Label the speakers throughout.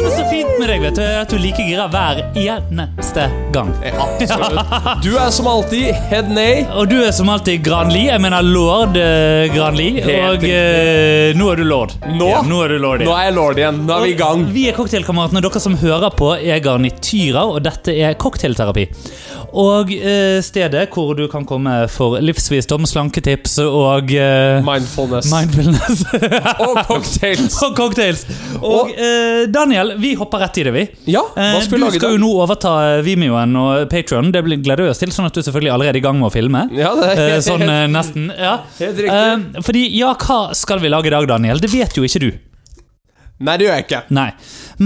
Speaker 1: med deg, vet du, er at du er like gira hver eneste gang.
Speaker 2: Absolutt. Du er som alltid head nay.
Speaker 1: Og du er som alltid Granli. Jeg mener lord eh, Granli.
Speaker 2: Helt
Speaker 1: Og eh, nå er du lord.
Speaker 2: Nå?
Speaker 1: Ja, nå er du lord, ja.
Speaker 2: Nå er jeg lord igjen. Nå er vi i gang.
Speaker 1: Vi er Cocktailkameratene, og dere som hører på er garnityrer, og dette er cocktailterapi. Og eh, stedet hvor du kan komme for livsvisdom, slanketips og eh,
Speaker 2: Mindfulness.
Speaker 1: mindfulness
Speaker 2: Og cocktails.
Speaker 1: og cocktails. Og eh, Daniel, vi hopper rett i det, vi.
Speaker 2: Ja,
Speaker 1: Eh,
Speaker 2: hva
Speaker 1: Du
Speaker 2: skal vi lage i
Speaker 1: skal jo
Speaker 2: dag?
Speaker 1: nå overta eh, Vimeoen og Patreon Det blir- gleder vi oss til, sånn at du selvfølgelig er allerede i gang med å filme.
Speaker 2: Ja, det er
Speaker 1: Eh,
Speaker 2: helt,
Speaker 1: Sånn eh, nesten. Ja.
Speaker 2: helt riktig.
Speaker 1: Eh, Fordi, ja, hva skal vi lage i dag, Daniel? Det vet jo ikke du.
Speaker 2: Nei, det gjør jeg ikke.
Speaker 1: Nei.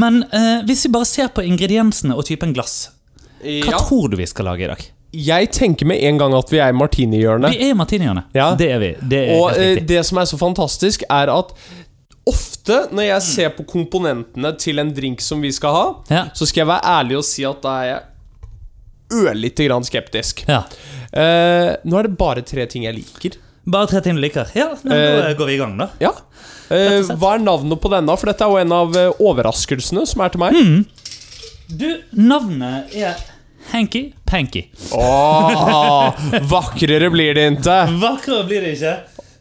Speaker 1: Men eh, hvis vi bare ser på ingrediensene og typen glass, hva
Speaker 2: Ja.
Speaker 1: tror du vi skal lage i dag?
Speaker 2: Jeg tenker med en gang at vi er i martinihjørnet.
Speaker 1: Vi er martiniene.
Speaker 2: Ja.
Speaker 1: Det er vi. Det er
Speaker 2: Og
Speaker 1: helt
Speaker 2: eh,
Speaker 1: riktig.
Speaker 2: det som er så fantastisk, er at ofte når jeg ser på komponentene til en drink som vi skal ha,
Speaker 1: Ja.
Speaker 2: så skal jeg være ærlig og si at da er jeg ørlite grann skeptisk.
Speaker 1: ja.
Speaker 2: Eh, nå er det bare tre ting jeg liker.
Speaker 1: Bare tre timer liker. Ja, nei, men da går vi i gang, da.
Speaker 2: Ja. Eh, hva er navnet på denne? For dette er jo en av eh, overraskelsene som er til meg.
Speaker 1: Du, navnet er Hanky Panky.
Speaker 2: Åh, vakrere blir det ikke.
Speaker 1: Vakrere blir det ikke.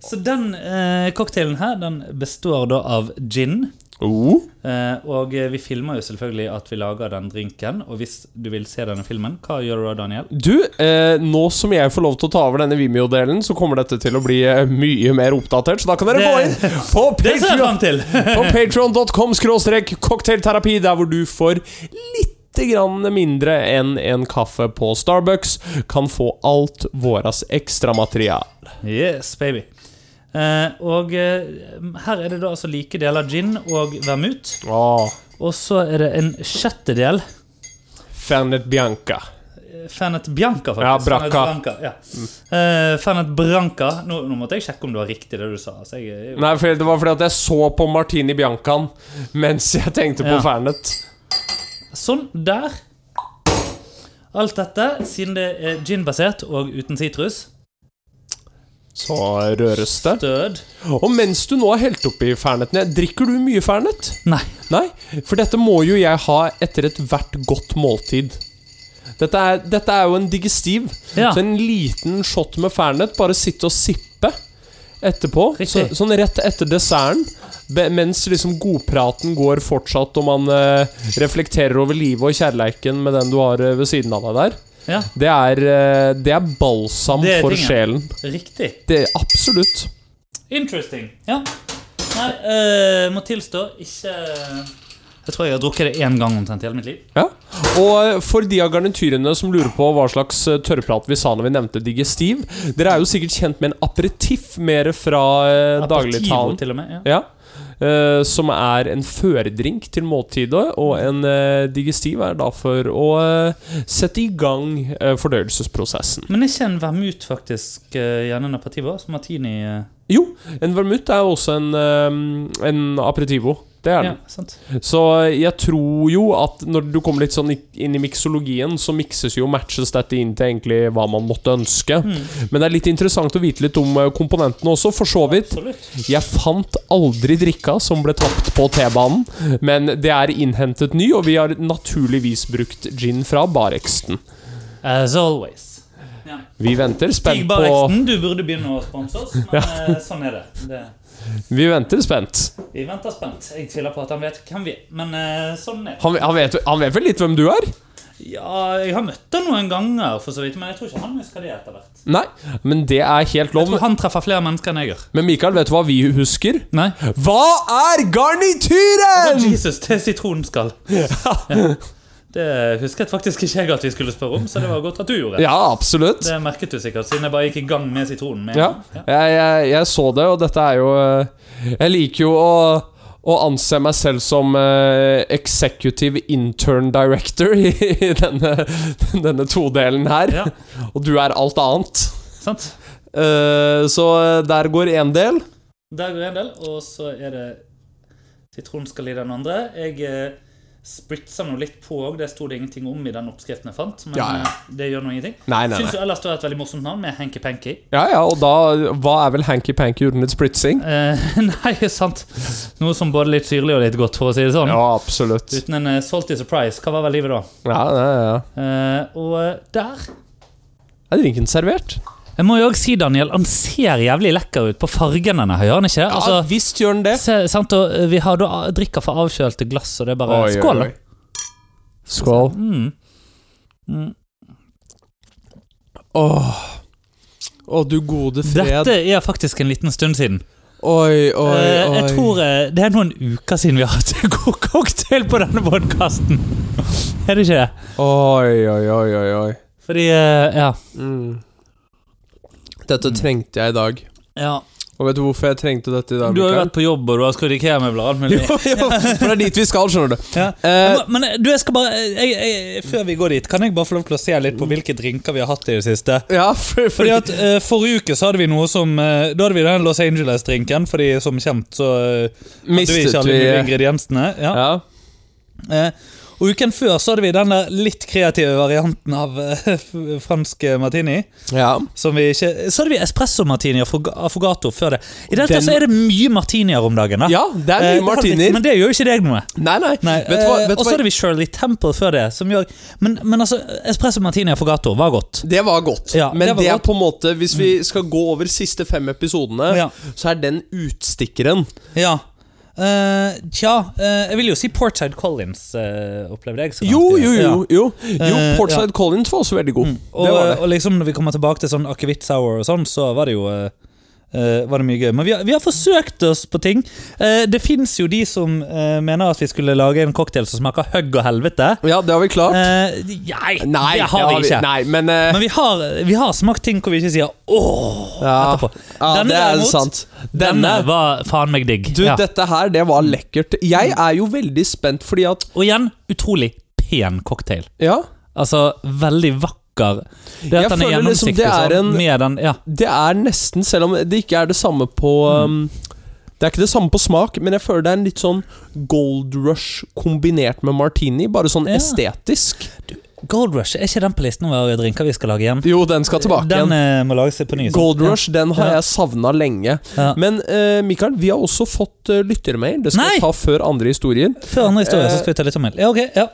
Speaker 1: Så den eh, cocktailen her den består da av gin.
Speaker 2: Oh.
Speaker 1: Eh, og eh, vi filmer jo selvfølgelig at vi lager den drinken. Og hvis du vil se denne filmen, hva gjør du da, Daniel?
Speaker 2: Du, eh, nå som jeg får lov til å ta over denne Vimeo-delen, så kommer dette til å bli eh, mye mer oppdatert, så da kan dere
Speaker 1: Det-
Speaker 2: gå inn på
Speaker 1: Det ser jeg
Speaker 2: Patreon-
Speaker 1: fram til!
Speaker 2: på patreon.com skråstrek cocktailterapi, der hvor du får litt grann mindre enn en kaffe på Starbucks, kan få alt våras ekstramaterial.
Speaker 1: Yes, baby. Eh, og eh, her er det da altså like deler gin og vermut.
Speaker 2: Åh,
Speaker 1: Og så er det en sjettedel
Speaker 2: Fernet Bianca.
Speaker 1: eh, Fernet Bianca, faktisk.
Speaker 2: Ja, Bracca. Mm.
Speaker 1: Fernet Branca, ja. Eh, Fernet Branca nå, nå måtte jeg sjekke om det var riktig, det du sa. Altså, jeg, er jo-
Speaker 2: Nei, for det var fordi at jeg så på Martini Biancaen mens jeg tenkte på
Speaker 1: Ja.
Speaker 2: Fernet.
Speaker 1: Sånn. Der. Alt dette, siden det er ginbasert og uten sitrus.
Speaker 2: Så røres det.
Speaker 1: Død.
Speaker 2: Og mens du nå har helt oppi ferneten Drikker du mye fernet?
Speaker 1: Nei.
Speaker 2: Nei, for dette må jo jeg ha etter ethvert godt måltid. Dette er, dette er jo en digestiv.
Speaker 1: Ja.
Speaker 2: Så en liten shot med fernet, bare sitte og sippe etterpå. Så,
Speaker 1: Riktig.
Speaker 2: sånn rett etter desserten. be- Mens liksom godpraten går fortsatt, og man eh, reflekterer over livet og kjærleiken med den du har eh, ved siden av deg der.
Speaker 1: Ja,
Speaker 2: Det er, eh, det er balsam
Speaker 1: Det er
Speaker 2: for
Speaker 1: tingen.
Speaker 2: sjelen.
Speaker 1: riktig.
Speaker 2: Det er Absolutt.
Speaker 1: Interesting. Ja. Nei, eh, må tilstå, ikke eh, Jeg tror jeg har drukket det én gang omtrent i hele mitt liv.
Speaker 2: Ja. Og for de av garnityrene som lurer på hva slags eh, tørrprat vi sa når vi nevnte digestiv Dere er jo sikkert kjent med en aperitiff mer fra eh,
Speaker 1: Aperitivo,
Speaker 2: dagligtalen.
Speaker 1: til og med. Ja.
Speaker 2: Ja. Eh, som er en føredrink til måltidet, og en eh, digestiv er da for å eh, sette i gang eh, fordøyelsesprosessen.
Speaker 1: Men er ikke en vermut faktisk eh, gjerne en aperitivo? Som martini eh,
Speaker 2: Jo, en vermouth er også en, eh, en aperitivo. Det er den.
Speaker 1: Ja, sant?
Speaker 2: Så jeg tror jo at når du kommer litt sånn i- inn i miksologien, så mikses jo matches dette inn til egentlig hva man måtte ønske.
Speaker 1: Mm.
Speaker 2: Men det er litt interessant å vite litt om eh, komponentene også, for så vidt.
Speaker 1: Absolutt.
Speaker 2: Jeg fant aldri drikka som ble tapt på T-banen, men det er innhentet ny, og vi har naturligvis brukt gin fra Bareksten.
Speaker 1: As always. Ja.
Speaker 2: Vi venter
Speaker 1: Stig
Speaker 2: spent på
Speaker 1: Barreksen, du burde begynne å sponse oss, men eh, sånn er det. det.
Speaker 2: Vi venter spent.
Speaker 1: Vi venter spent. Jeg tviler på at han vet hvem vi er, men eh, sånn er det.
Speaker 2: Han, han, vet, han vet vel litt hvem du er?
Speaker 1: Ja, jeg har møtt han noen ganger, for så vidt, men jeg tror ikke han husker det etter hvert.
Speaker 2: Nei, men det er helt
Speaker 1: Jeg
Speaker 2: lov.
Speaker 1: tror han treffer flere mennesker enn jeg gjør.
Speaker 2: Men Mikael, vet du hva vi husker?
Speaker 1: Nei.
Speaker 2: Hva er garnityren?!
Speaker 1: Jesus, det er sitronskall. Ja. Det husket faktisk ikke jeg at vi skulle spørre om, så det var godt at du gjorde.
Speaker 2: Ja, absolutt.
Speaker 1: Det merket du sikkert, siden jeg bare gikk i gang med sitronen. Med.
Speaker 2: Ja. Jeg, jeg, jeg så det, og dette er jo eh, Jeg liker jo å, å anse meg selv som eh, executive intern director i, i denne, denne todelen her.
Speaker 1: Ja.
Speaker 2: Og du er alt annet.
Speaker 1: Sant?
Speaker 2: Eh, så der går én del.
Speaker 1: Der går en del, og så er det sitronskall i den andre. Jeg eh, spritsa nå litt på òg. Det sto det ingenting om i den oppskriften jeg fant. Men
Speaker 2: Ja, ja.
Speaker 1: eh, det gjør nå ingenting.
Speaker 2: Nei, nei,
Speaker 1: Syns
Speaker 2: nei.
Speaker 1: jo ellers det var et veldig morsomt navn, med Hanky Panky.
Speaker 2: Ja, ja, og da Hva er vel hanky-panky uten litt splitsing?
Speaker 1: Eh, nei, sant. Noe som både litt syrlig og litt godt, for å si det sånn.
Speaker 2: Ja, absolutt.
Speaker 1: Uten en eh, salty surprise. Hva var vel livet da?
Speaker 2: Ja, ja, ja.
Speaker 1: Eh, og eh, der
Speaker 2: Er drinken servert?
Speaker 1: Jeg må jo også si, Daniel, han ser jævlig lekker ut på fargen denne her, gjør han ikke?
Speaker 2: Ja,
Speaker 1: Altså,
Speaker 2: visst gjør den det.
Speaker 1: se, sant, og eh, vi har da eh, drikker fra avkjølte glass, og det er bare skål. da.
Speaker 2: Skål.
Speaker 1: Mm. Mm.
Speaker 2: Åh. Å, du gode fred.
Speaker 1: Dette er faktisk en liten stund siden.
Speaker 2: Oi, oi, oi.
Speaker 1: Eh, jeg tror eh, Det er noen uker siden vi har hatt en god cocktail på denne podkasten. er det ikke det?
Speaker 2: Oi, oi, oi, oi, oi.
Speaker 1: Fordi eh, Ja.
Speaker 2: Mm. Dette
Speaker 1: Mm.
Speaker 2: trengte jeg i dag.
Speaker 1: ja.
Speaker 2: Og vet du hvorfor jeg trengte dette i dag,
Speaker 1: Du har jo
Speaker 2: Mikael?
Speaker 1: vært på jobb, og du har skrudd IKEA-møbler og alt mulig.
Speaker 2: jo, jo, for det er dit vi skal, skjønner du.
Speaker 1: Ja.
Speaker 2: Eh,
Speaker 1: Men men, du, jeg skal bare jeg, jeg, Før vi går dit, kan jeg bare få lov til å se litt på hvilke drinker vi har hatt i det siste?
Speaker 2: ja, for,
Speaker 1: Fordi
Speaker 2: fordi
Speaker 1: at eh, Forrige uke så hadde vi noe som eh, Da hadde vi den Los Angeles-drinken, fordi som kjent så eh, hadde vi
Speaker 2: mistet
Speaker 1: ikke alle de
Speaker 2: vi eh,
Speaker 1: ingrediensene. Ja.
Speaker 2: Ja.
Speaker 1: Eh, og uken før så hadde vi den der litt kreative varianten av eh, f- fransk eh, martini.
Speaker 2: ja.
Speaker 1: Som vi ikke Så hadde vi espresso-martini og affoga- affogato før det. I det hele tatt
Speaker 2: Den-
Speaker 1: så er det mye martinier om dagen. da
Speaker 2: Ja, det
Speaker 1: Eh,
Speaker 2: er
Speaker 1: det
Speaker 2: mye
Speaker 1: har vi-
Speaker 2: martinier.
Speaker 1: Men det gjør jo ikke deg noe.
Speaker 2: Nei, nei.
Speaker 1: Nei,
Speaker 2: Vet du hva,
Speaker 1: eh,
Speaker 2: vet
Speaker 1: og
Speaker 2: du
Speaker 1: så
Speaker 2: hva?
Speaker 1: hadde vi Shirley Temple før det, som gjør Men, men altså, espresso martini affogato var godt.
Speaker 2: Det var godt.
Speaker 1: Ja,
Speaker 2: Men
Speaker 1: det
Speaker 2: det,
Speaker 1: var
Speaker 2: er
Speaker 1: godt. Mm.
Speaker 2: på en måte Hvis vi skal gå over siste fem episodene,
Speaker 1: Ja.
Speaker 2: så er den utstikkeren.
Speaker 1: Ja. Eh, tja, eh, jeg vil jo si Portside Collins eh, opplevde jeg. så ganske-
Speaker 2: Jo, jo,
Speaker 1: Ja.
Speaker 2: jo. Jo, jo
Speaker 1: Eh,
Speaker 2: Portside Collins var også veldig god.
Speaker 1: Og,
Speaker 2: det var det.
Speaker 1: og liksom når vi kommer tilbake til sånn akevitt sour og sånn, så var det jo eh, eh, var det mye gøy. Men vi har, vi har forsøkt oss på ting. Eh, det fins jo de som eh, mener at vi skulle lage en cocktail som smaker hugg og helvete.
Speaker 2: Ja, det har vi klart.
Speaker 1: Eh, nei,
Speaker 2: nei,
Speaker 1: det har vi ikke.
Speaker 2: Nei, men, eh,
Speaker 1: Men vi har, vi har smakt ting hvor vi ikke sier 'åh'
Speaker 2: Ja.
Speaker 1: etterpå.
Speaker 2: ja,
Speaker 1: Denne
Speaker 2: det er
Speaker 1: derimot,
Speaker 2: sant.
Speaker 1: Denne
Speaker 2: Denne
Speaker 1: var faen meg digg.
Speaker 2: Du,
Speaker 1: ja.
Speaker 2: dette her, det var lekkert. Jeg er jo veldig spent fordi at
Speaker 1: Og igjen, utrolig pen cocktail.
Speaker 2: Ja,
Speaker 1: Altså, veldig vakker. Det
Speaker 2: Jeg
Speaker 1: at den er
Speaker 2: føler liksom
Speaker 1: gjennomsiktig
Speaker 2: det er
Speaker 1: sånn,
Speaker 2: en-
Speaker 1: med den Ja.
Speaker 2: det er nesten Selv om det ikke er det samme på
Speaker 1: Mm.
Speaker 2: um, Det er ikke det samme på smak, men jeg føler det er en litt sånn Gold Rush kombinert med martini. Bare sånn
Speaker 1: Ja.
Speaker 2: estetisk.
Speaker 1: Gold Rush, er ikke den på listen over drinker vi skal lage igjen?
Speaker 2: Jo, den skal tilbake
Speaker 1: Den
Speaker 2: igjen.
Speaker 1: eh, må lage seg på ny. sant?
Speaker 2: Gold Rush, den har
Speaker 1: Ja.
Speaker 2: jeg savna lenge.
Speaker 1: Ja.
Speaker 2: Men eh, Mikael, vi har også fått eh, lyttermail. Det skal
Speaker 1: Nei!
Speaker 2: vi ta før andre historier.
Speaker 1: Før andre historie så
Speaker 2: Eh.
Speaker 1: skal vi ta litt om mail. Ja, ok, ja.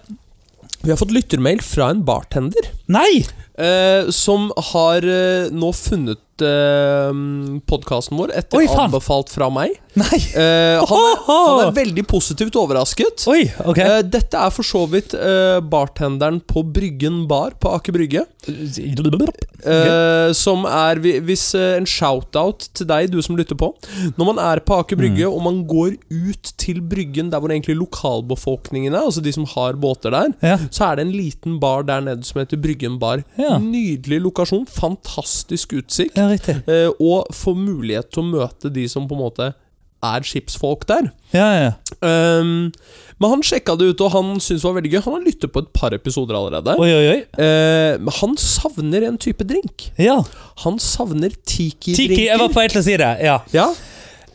Speaker 2: Vi har fått lyttermail fra en bartender.
Speaker 1: Nei!
Speaker 2: Eh, som har eh, nå funnet eh, podkasten vår etter
Speaker 1: Oi, faen!
Speaker 2: anbefalt fra meg.
Speaker 1: Nei!
Speaker 2: Eh, han, er,
Speaker 1: Ohoho!
Speaker 2: han er veldig positivt overrasket.
Speaker 1: Oi, ok.
Speaker 2: Eh, dette er for så vidt eh, bartenderen på Bryggen bar på Aker Brygge. eh, Som er vi- Hvis eh, en shout-out til deg, du som lytter på. Når man er på Aker Brygge
Speaker 1: Mm.
Speaker 2: og man går ut til Bryggen, der hvor egentlig lokalbefolkningen er, altså de som har båter der,
Speaker 1: ja.
Speaker 2: så er det en liten bar der nede som heter Bryggen bar.
Speaker 1: Ja.
Speaker 2: Nydelig lokasjon, fantastisk utsikt.
Speaker 1: ja, riktig.
Speaker 2: eh, Og få mulighet til å møte de som på en måte er skipsfolk der.
Speaker 1: Ja, ja.
Speaker 2: Ehm, men han sjekka det ut, og han syntes det var veldig gøy. Han har lyttet på et par episoder allerede.
Speaker 1: Oi, oi, oi.
Speaker 2: Eh, men han savner en type drink.
Speaker 1: Ja.
Speaker 2: Han savner tiki-drinker.
Speaker 1: Tiki, eh, jeg var på vei til å si det. Ja.
Speaker 2: Ja,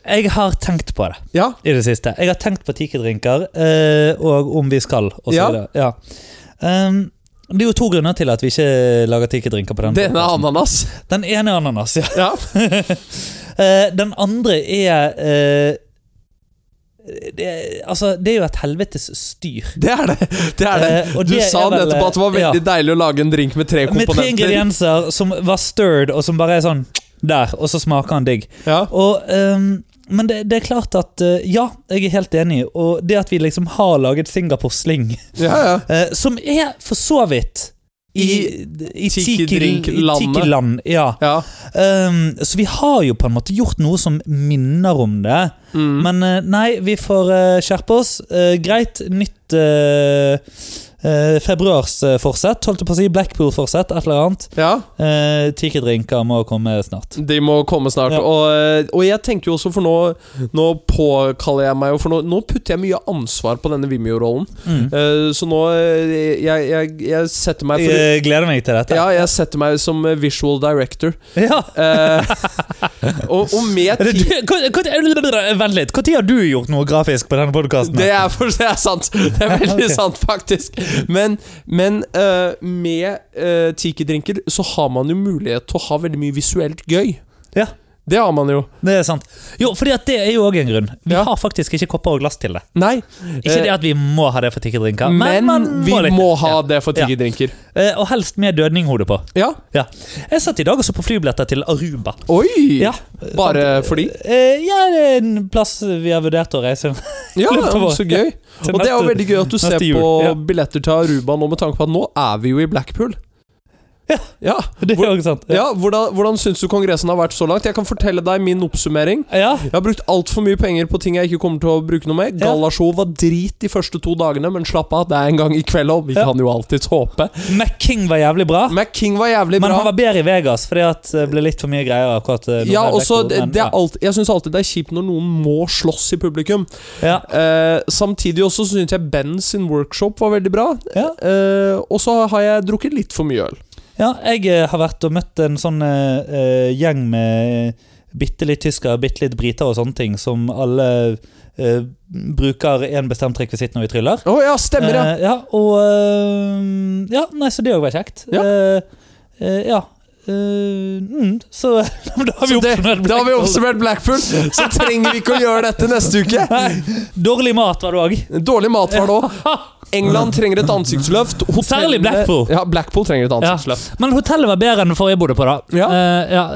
Speaker 1: Jeg har tenkt på det.
Speaker 2: ja.
Speaker 1: i det siste. Jeg har tenkt på tikedrinker, eh, og om vi skal, og så
Speaker 2: Ja.
Speaker 1: videre. Ja. Ehm, det er jo to grunner til at vi ikke lager tikedrinker på den.
Speaker 2: Det ene er
Speaker 1: podcasten.
Speaker 2: ananas.
Speaker 1: Den ene er ananas, ja.
Speaker 2: Ja.
Speaker 1: Eh, den andre er eh, det, er- altså, det er jo et helvetes styr.
Speaker 2: Det er det. det, er det.
Speaker 1: Eh, og
Speaker 2: du
Speaker 1: det
Speaker 2: sa
Speaker 1: er vel,
Speaker 2: nettopp at det var
Speaker 1: ja.
Speaker 2: veldig deilig å lage en drink med tre
Speaker 1: Med tre
Speaker 2: komponenter.
Speaker 1: ingredienser som var stirred, og som bare er sånn der, og så smaker han digg.
Speaker 2: ja.
Speaker 1: Og, ehm, men det, det er klart at eh, Ja, jeg er helt enig. Og det at vi liksom har laget Singapore Sling
Speaker 2: ja, ja.
Speaker 1: Eh, som er for så vidt i, i
Speaker 2: Tiki-drink-landet.
Speaker 1: tiki- Tiki-land. ja.
Speaker 2: ja.
Speaker 1: Ehm, så vi har jo på en måte gjort noe som minner om det.
Speaker 2: Mm.
Speaker 1: Men eh, nei, vi får eh, skjerpe oss. Eh, greit, nytt eh, eh, februarsforsett, holdt jeg på å si. Blackpool-forsett, et eller annet.
Speaker 2: ja.
Speaker 1: Uh, Tiki-drinker må komme snart.
Speaker 2: De må komme snart.
Speaker 1: Ja.
Speaker 2: Og, og jeg tenker jo også, for nå Nå påkaller jeg meg jo For nå, nå putter jeg mye ansvar på denne Vimeo-rollen.
Speaker 1: Mm.
Speaker 2: Eh, så nå eh, jeg, jeg, jeg setter meg for
Speaker 1: Jeg eh, gleder meg til dette.
Speaker 2: Ja, jeg setter meg som eh, visual director.
Speaker 1: Ja.
Speaker 2: Eh, Og, og med
Speaker 1: Er det
Speaker 2: tid
Speaker 1: du- hva- hva- Vent litt, når har du gjort noe grafisk på denne podkasten?
Speaker 2: Det er, for, det er sant. Det er veldig
Speaker 1: Ok.
Speaker 2: sant, faktisk. Men, men eh, med uh, tiki-drinker så har man jo mulighet til å ha veldig mye visuelt gøy.
Speaker 1: Ja,
Speaker 2: Det har man jo.
Speaker 1: det er sant. Jo, fordi at det er jo òg en grunn. Vi
Speaker 2: Ja.
Speaker 1: har faktisk ikke kopper og glass til det.
Speaker 2: Nei.
Speaker 1: Ikke
Speaker 2: eh,
Speaker 1: det at vi må ha det for tikkerdrinker,
Speaker 2: men
Speaker 1: men, man
Speaker 2: vi
Speaker 1: må litt.
Speaker 2: må ha det for tiki-drinker.
Speaker 1: Eh, Og helst med dødninghode på.
Speaker 2: Ja.
Speaker 1: Ja. Jeg satt i dag og så på flybilletter til Aruba.
Speaker 2: Oi!
Speaker 1: Ja.
Speaker 2: Bare fordi?
Speaker 1: Eh, ja, det er en plass vi har vurdert å reise.
Speaker 2: Ja,
Speaker 1: Lurer på hva-
Speaker 2: så gøy.
Speaker 1: til
Speaker 2: Og det er jo
Speaker 1: neste-
Speaker 2: veldig gøy at du ser
Speaker 1: neste jul,
Speaker 2: på
Speaker 1: ja.
Speaker 2: billetter til Aruba nå, med tanke på at nå er vi jo i Blackpool.
Speaker 1: Ja.
Speaker 2: Ja,
Speaker 1: Det er jo ikke sant.
Speaker 2: ja Hvordan, hvordan syns du kongressen har vært så langt? Jeg kan fortelle deg min oppsummering.
Speaker 1: Ja.
Speaker 2: Jeg har brukt altfor mye penger på ting jeg ikke kommer til å bruke noe med.
Speaker 1: Ja.
Speaker 2: Gallashow var drit de første to dagene, men slapp av, det er en gang i kveld òg. Vi
Speaker 1: Ja.
Speaker 2: kan jo alltids håpe.
Speaker 1: McKing var jævlig bra.
Speaker 2: McKing var jævlig
Speaker 1: Men
Speaker 2: bra.
Speaker 1: han var bedre i Vegas, fordi at det ble litt for mye greier. akkurat eh, når det
Speaker 2: ja,
Speaker 1: ble
Speaker 2: også,
Speaker 1: Blackpool,
Speaker 2: det
Speaker 1: men
Speaker 2: det er alt, Jeg syns alltid det er kjipt når noen må slåss i publikum.
Speaker 1: ja.
Speaker 2: Eh, samtidig også syns jeg Ben sin workshop var veldig bra.
Speaker 1: Ja.
Speaker 2: Eh, og så har jeg drukket litt for mye øl.
Speaker 1: ja, jeg eh, har vært og møtt en sånn eh, eh, gjeng med bitte litt tyskere, bitte litt briter og sånne ting, som alle eh, bruker en bestemt rekvisitt når vi tryller.
Speaker 2: Å ja, stemmer, ja!
Speaker 1: Eh, ja, og eh, Ja, nei, så det òg var kjekt.
Speaker 2: Ja.
Speaker 1: Eh, eh, ja. Eh, mm, så da har vi
Speaker 2: Så det,
Speaker 1: oppsummert.
Speaker 2: da har vi
Speaker 1: Blackpool.
Speaker 2: oppsummert Blackpool, så trenger vi ikke å gjøre dette neste uke.
Speaker 1: Nei, Dårlig mat var det òg.
Speaker 2: Dårlig mat var det òg. England trenger et ansiktsløft.
Speaker 1: Særlig Blackpool.
Speaker 2: Ja, Blackpool trenger et
Speaker 1: Ja.
Speaker 2: ansiktsløft.
Speaker 1: Men hotellet var bedre enn det forrige jeg bodde på, da.
Speaker 2: Ja.
Speaker 1: Eh, ja.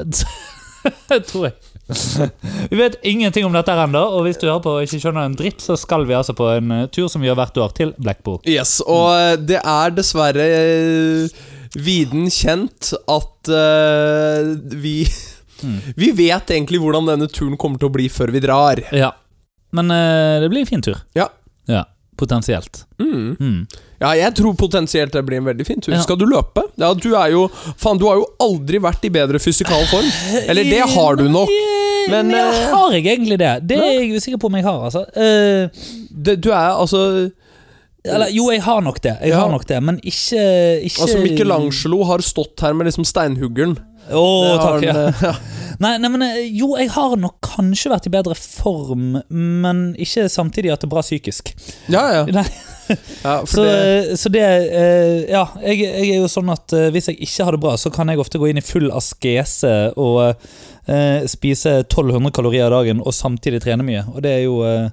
Speaker 1: tror jeg. Vi vet ingenting om dette her ennå, og hvis du hører på og ikke skjønner en dritt, så skal vi altså på en eh, tur som vi gjør hvert år, til Blackpool.
Speaker 2: Yes, og eh, det er dessverre eh, viden kjent at eh, vi
Speaker 1: Hmm.
Speaker 2: Vi vet egentlig hvordan denne turen kommer til å bli før vi drar.
Speaker 1: Ja. Men eh, det blir en fin tur.
Speaker 2: Ja.
Speaker 1: Ja, Potensielt.
Speaker 2: Mm.
Speaker 1: Mm.
Speaker 2: Ja, jeg tror potensielt det blir en veldig fin tur.
Speaker 1: Ja.
Speaker 2: Skal du løpe? Ja, du er jo Faen, du har jo aldri vært i bedre fysikal form. Eller det har du nok. men,
Speaker 1: Men
Speaker 2: eh,
Speaker 1: Har jeg egentlig det? Det er jeg usikker på om jeg har, altså. Eh,
Speaker 2: Det, du er altså
Speaker 1: eller jo, jeg har nok det, Jeg
Speaker 2: Ja.
Speaker 1: har nok det men ikke, ikke
Speaker 2: Altså, Michelangelo har stått her med liksom steinhuggeren.
Speaker 1: Å,
Speaker 2: Det har
Speaker 1: takk. Ja.
Speaker 2: han, eh, ja.
Speaker 1: Nei, nei, men eh, jo, jeg har nok kanskje vært i bedre form, men ikke samtidig at det er bra psykisk.
Speaker 2: Ja, ja.
Speaker 1: Nei.
Speaker 2: ja for
Speaker 1: Så,
Speaker 2: det,
Speaker 1: eh, så det eh, Ja, jeg, jeg er jo sånn at eh, hvis jeg ikke har det bra, så kan jeg ofte gå inn i full askese og eh, spise 1200 kalorier dagen og samtidig trene mye, og det er jo eh,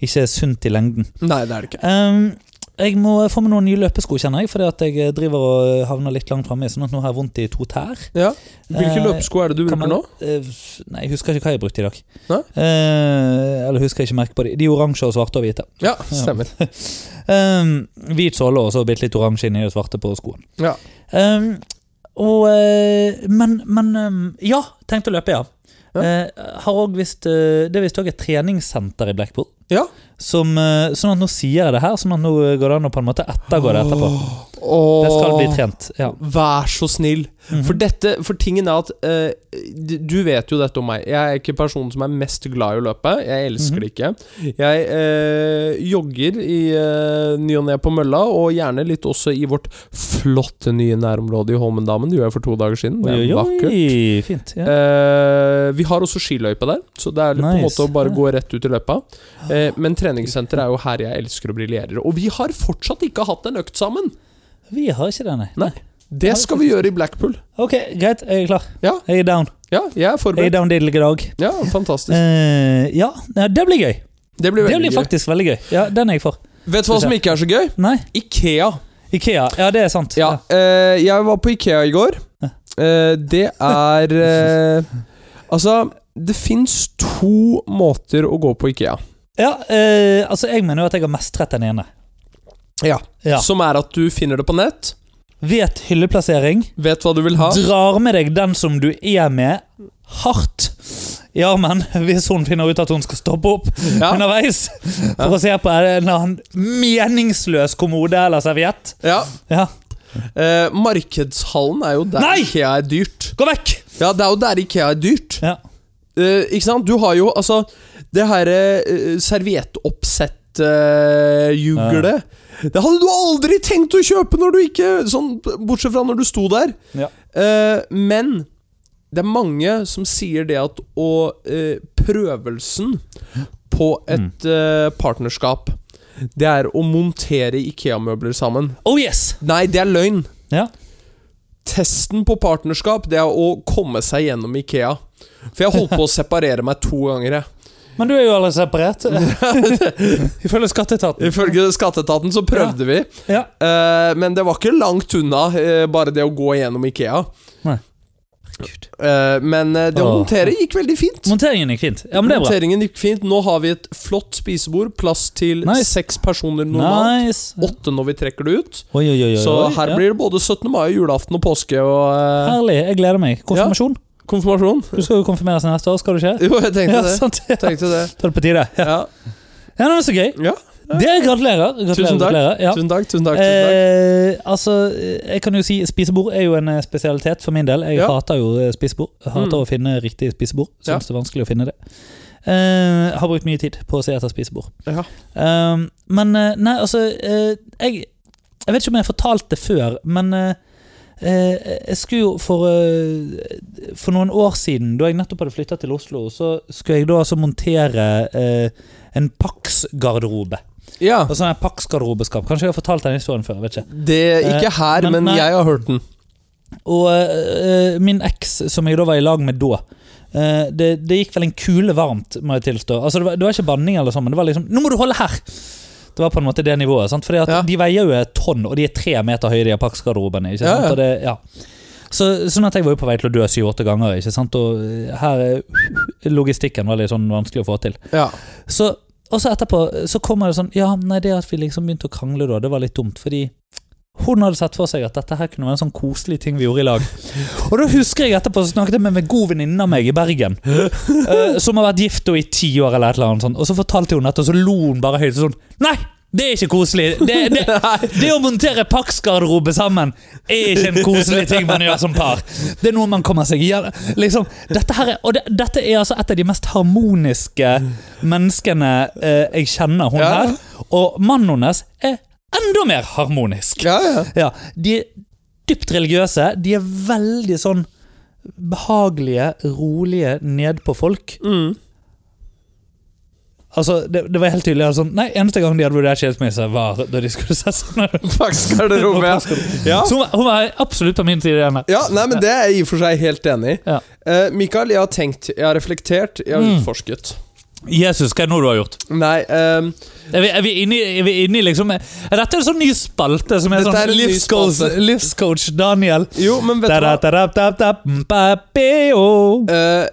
Speaker 1: ikke sunt i lengden.
Speaker 2: nei, det er det ikke.
Speaker 1: Ehm, jeg må få meg noen nye løpesko, kjenner jeg, fordi at jeg driver og havner litt langt framme. Sånn at nå har jeg vondt i to tær.
Speaker 2: Ja. Hvilke
Speaker 1: Eh,
Speaker 2: løpesko er det du
Speaker 1: Kan
Speaker 2: bruker
Speaker 1: man-
Speaker 2: nå?
Speaker 1: Eh, f- nei, jeg husker ikke hva jeg brukte i dag.
Speaker 2: Nei?
Speaker 1: Eh, eller husker jeg ikke merke på de. De er oransje og svarte og hvite.
Speaker 2: Ja, stemmer.
Speaker 1: Ehm, hvit såle og så bitte litt oransje inni det svarte på skoen.
Speaker 2: Ja.
Speaker 1: Ehm, og, eh, men men ehm, ja, tenkte å løpe, ja.
Speaker 2: Ja.
Speaker 1: Eh, har også visst, eh, det er visst òg et treningssenter i Blackpool.
Speaker 2: Ja.
Speaker 1: Som, eh, sånn at nå sier jeg det her, sånn at nå går det an å på en måte ettergå det etterpå.
Speaker 2: Åh,
Speaker 1: Det skal bli trent. Ja. Mhm.
Speaker 2: Vær så snill. For dette, for tingen er at eh, d- Du vet jo dette om meg. Jeg er ikke personen som er mest glad i å løpe. Jeg elsker
Speaker 1: Mhm.
Speaker 2: det ikke. Jeg eh, jogger i eh, ny og ne på mølla, og gjerne litt også i vårt flotte nye nærområde i Holmendammen. Det gjorde jeg for to dager siden. Det
Speaker 1: Oi,
Speaker 2: er
Speaker 1: oi,
Speaker 2: vakkert.
Speaker 1: oi, fint. Ja.
Speaker 2: Eh, vi har også skiløype der, så det er litt på en
Speaker 1: Nice.
Speaker 2: måte å bare
Speaker 1: Ja. Ah.
Speaker 2: gå rett ut i løypa. Eh, men treningssenter er jo her jeg elsker å briljere. Og vi har fortsatt ikke hatt en økt sammen!
Speaker 1: Vi har ikke det, nei.
Speaker 2: Nei. Det skal vi gjøre i Blackpool.
Speaker 1: Ok, greit. Jeg er klar.
Speaker 2: Ja.
Speaker 1: Jeg er down.
Speaker 2: Ja, jeg er
Speaker 1: Jeg er
Speaker 2: forberedt.
Speaker 1: down diddelig dag.
Speaker 2: Ja, fantastisk.
Speaker 1: Eh, ja, ja, det blir gøy.
Speaker 2: Det blir
Speaker 1: Det blir
Speaker 2: veldig gøy.
Speaker 1: faktisk veldig gøy. Ja, Den er jeg for.
Speaker 2: Vet du hva som ikke er så gøy?
Speaker 1: Nei,
Speaker 2: Ikea.
Speaker 1: Ikea. Ja, det er sant.
Speaker 2: Ja, eh, jeg var på Ikea i går. Eh, det er eh, Altså, det fins to måter å gå på Ikea.
Speaker 1: Ja, eh, altså Jeg mener jo at jeg har mestret den ene.
Speaker 2: Ja.
Speaker 1: Ja.
Speaker 2: Som er at du finner det på nett,
Speaker 1: Vet hylleplassering,
Speaker 2: vet hva du vil ha.
Speaker 1: drar med deg den som du er med, hardt i armen hvis hun finner ut at hun skal stoppe opp
Speaker 2: Ja.
Speaker 1: underveis for å se på en eller annen meningsløs kommode eller serviett.
Speaker 2: Ja,
Speaker 1: Ja.
Speaker 2: eh, Markedshallen er jo der
Speaker 1: Nei!
Speaker 2: Ikea er dyrt.
Speaker 1: Gå vekk!
Speaker 2: Ja, det er jo der Ikea er dyrt.
Speaker 1: Ja.
Speaker 2: Eh, ikke sant? Du har jo altså det herre uh, serviettoppsett-juglet. det hadde du aldri tenkt å kjøpe når du ikke Sånn bortsett fra når du sto der.
Speaker 1: Ja.
Speaker 2: Eh, men Det er mange som sier det at å eh, Prøvelsen på et eh, partnerskap, det er å montere Ikea-møbler sammen.
Speaker 1: Oh yes!
Speaker 2: Nei, det er løgn.
Speaker 1: Ja.
Speaker 2: Testen på partnerskap, det er å komme seg gjennom Ikea. For jeg holdt på å separere meg to ganger, jeg.
Speaker 1: Men du er jo allerede separert. Ifølge Skatteetaten.
Speaker 2: Ifølge skatteetaten så prøvde vi,
Speaker 1: Ja.
Speaker 2: eh, men det var ikke langt unna eh, bare det å gå gjennom Ikea.
Speaker 1: Nei.
Speaker 2: Eh, men eh, det å
Speaker 1: Åh.
Speaker 2: montere gikk veldig fint.
Speaker 1: Monteringen gikk fint. Ja, men det er bra.
Speaker 2: Monteringen gikk fint. Nå har vi et flott spisebord, plass til
Speaker 1: Nice.
Speaker 2: seks personer normalt.
Speaker 1: Nice. Oi,
Speaker 2: Åtte når vi trekker det ut.
Speaker 1: oi, oi, oi.
Speaker 2: Så her
Speaker 1: ja.
Speaker 2: blir det både 17. mai, julaften og påske og eh,
Speaker 1: Herlig. Jeg gleder meg. Konfirmasjon.
Speaker 2: konfirmasjon.
Speaker 1: Du skal jo konfirmeres neste år, skal du ikke?
Speaker 2: Jo, jeg tenkte
Speaker 1: Ja,
Speaker 2: det.
Speaker 1: sant. Ja.
Speaker 2: Tenkte det.
Speaker 1: Ta det på tide. Ja,
Speaker 2: Ja.
Speaker 1: ja men det er så gøy.
Speaker 2: ja.
Speaker 1: Det Gratulerer. gratulerer
Speaker 2: Tusen takk.
Speaker 1: Gratulerer. Ja.
Speaker 2: Tusen takk, tusen takk. Tusen takk.
Speaker 1: Eh, altså, eh, jeg kan jo si Spisebord er jo en eh, spesialitet for min del. Jeg
Speaker 2: Ja.
Speaker 1: hater jo eh, spisebord. Jeg Hater
Speaker 2: Mm.
Speaker 1: å finne riktig spisebord. Syns
Speaker 2: Ja.
Speaker 1: det er vanskelig å finne det. Eh, har brukt mye tid på å se etter spisebord.
Speaker 2: Ja.
Speaker 1: Eh, men eh, nei, altså eh, jeg, jeg vet ikke om jeg fortalte det før, men eh, eh, jeg skulle jo for, eh, for noen år siden, da jeg nettopp hadde flytta til Oslo, så skulle jeg da altså montere eh, en Pax-garderobe.
Speaker 2: ja.
Speaker 1: Og sånn her Pax-garderobeskap. Kanskje jeg har fortalt den historien før. jeg vet ikke
Speaker 2: Det Ikke her,
Speaker 1: eh, men-
Speaker 2: men
Speaker 1: nei.
Speaker 2: jeg har hørt den.
Speaker 1: Og eh, min eks, som jeg da var i lag med da eh, det, det gikk vel en kule varmt, må jeg tilstå. Altså, det, var, det var ikke banning, eller sånn, men det var liksom 'Nå må du holde her!' Det var på en måte det nivået. sant? Fordi at
Speaker 2: Ja.
Speaker 1: De veier jo et tonn, og de er tre meter høye, de Apax-garderobene. ikke
Speaker 2: Ja,
Speaker 1: sant?
Speaker 2: ja.
Speaker 1: Og det, ja. Så, sånn at jeg var jo på vei til å dø syv-åtte ganger. ikke sant? Og eh, her eh, Logistikken var litt sånn vanskelig å få til.
Speaker 2: Ja.
Speaker 1: Så, og så etterpå så kommer det sånn Ja, nei, det at vi liksom begynte å krangle da, det var litt dumt, fordi hun hadde sett for seg at dette her kunne være en sånn koselig ting vi gjorde i lag. Og da husker jeg etterpå så snakket jeg med en god venninne av meg i Bergen, eh, som har vært gift da i ti år, eller et eller annet sånt, og så fortalte hun dette, og så lo hun bare høyt sånn Nei! Det er ikke koselig. Det, det, det å montere Pax-garderobe sammen er ikke en koselig ting man gjør som par. Det er noe man kommer seg igjen liksom, dette, her er, og det, dette er altså et av de mest harmoniske menneskene eh, jeg kjenner, hun
Speaker 2: Ja.
Speaker 1: her. Og mannen hennes er enda mer harmonisk.
Speaker 2: Ja, ja.
Speaker 1: Ja, de er dypt religiøse. De er veldig sånn behagelige, rolige, nedpå folk.
Speaker 2: Mm.
Speaker 1: Altså, det, det var helt tydelig. Altså, nei, Eneste gang de hadde vurdert skilsmisse, var da de skulle sette seg ned.
Speaker 2: Faktisk er det rommet. Ja.
Speaker 1: Så hun, var- hun var absolutt på min side igjen. der.
Speaker 2: Ja, nei, men Det er jeg i og for seg helt enig i.
Speaker 1: Ja.
Speaker 2: Eh, Mikael, jeg har tenkt, jeg har reflektert, jeg har
Speaker 1: Mm.
Speaker 2: utforsket.
Speaker 1: Jesus, hva er det nå du har gjort?
Speaker 2: Nei, ehm,
Speaker 1: Er vi, er vi inne i- er vi inne i liksom Er dette en sånn ny spalte som er
Speaker 2: Dette
Speaker 1: sånn
Speaker 2: er en ny
Speaker 1: livscoach,
Speaker 2: spalte.
Speaker 1: livscoach Daniel?
Speaker 2: jo, men vet du hva?
Speaker 1: Da-da-da-da-da, mpapeo.
Speaker 2: Eh,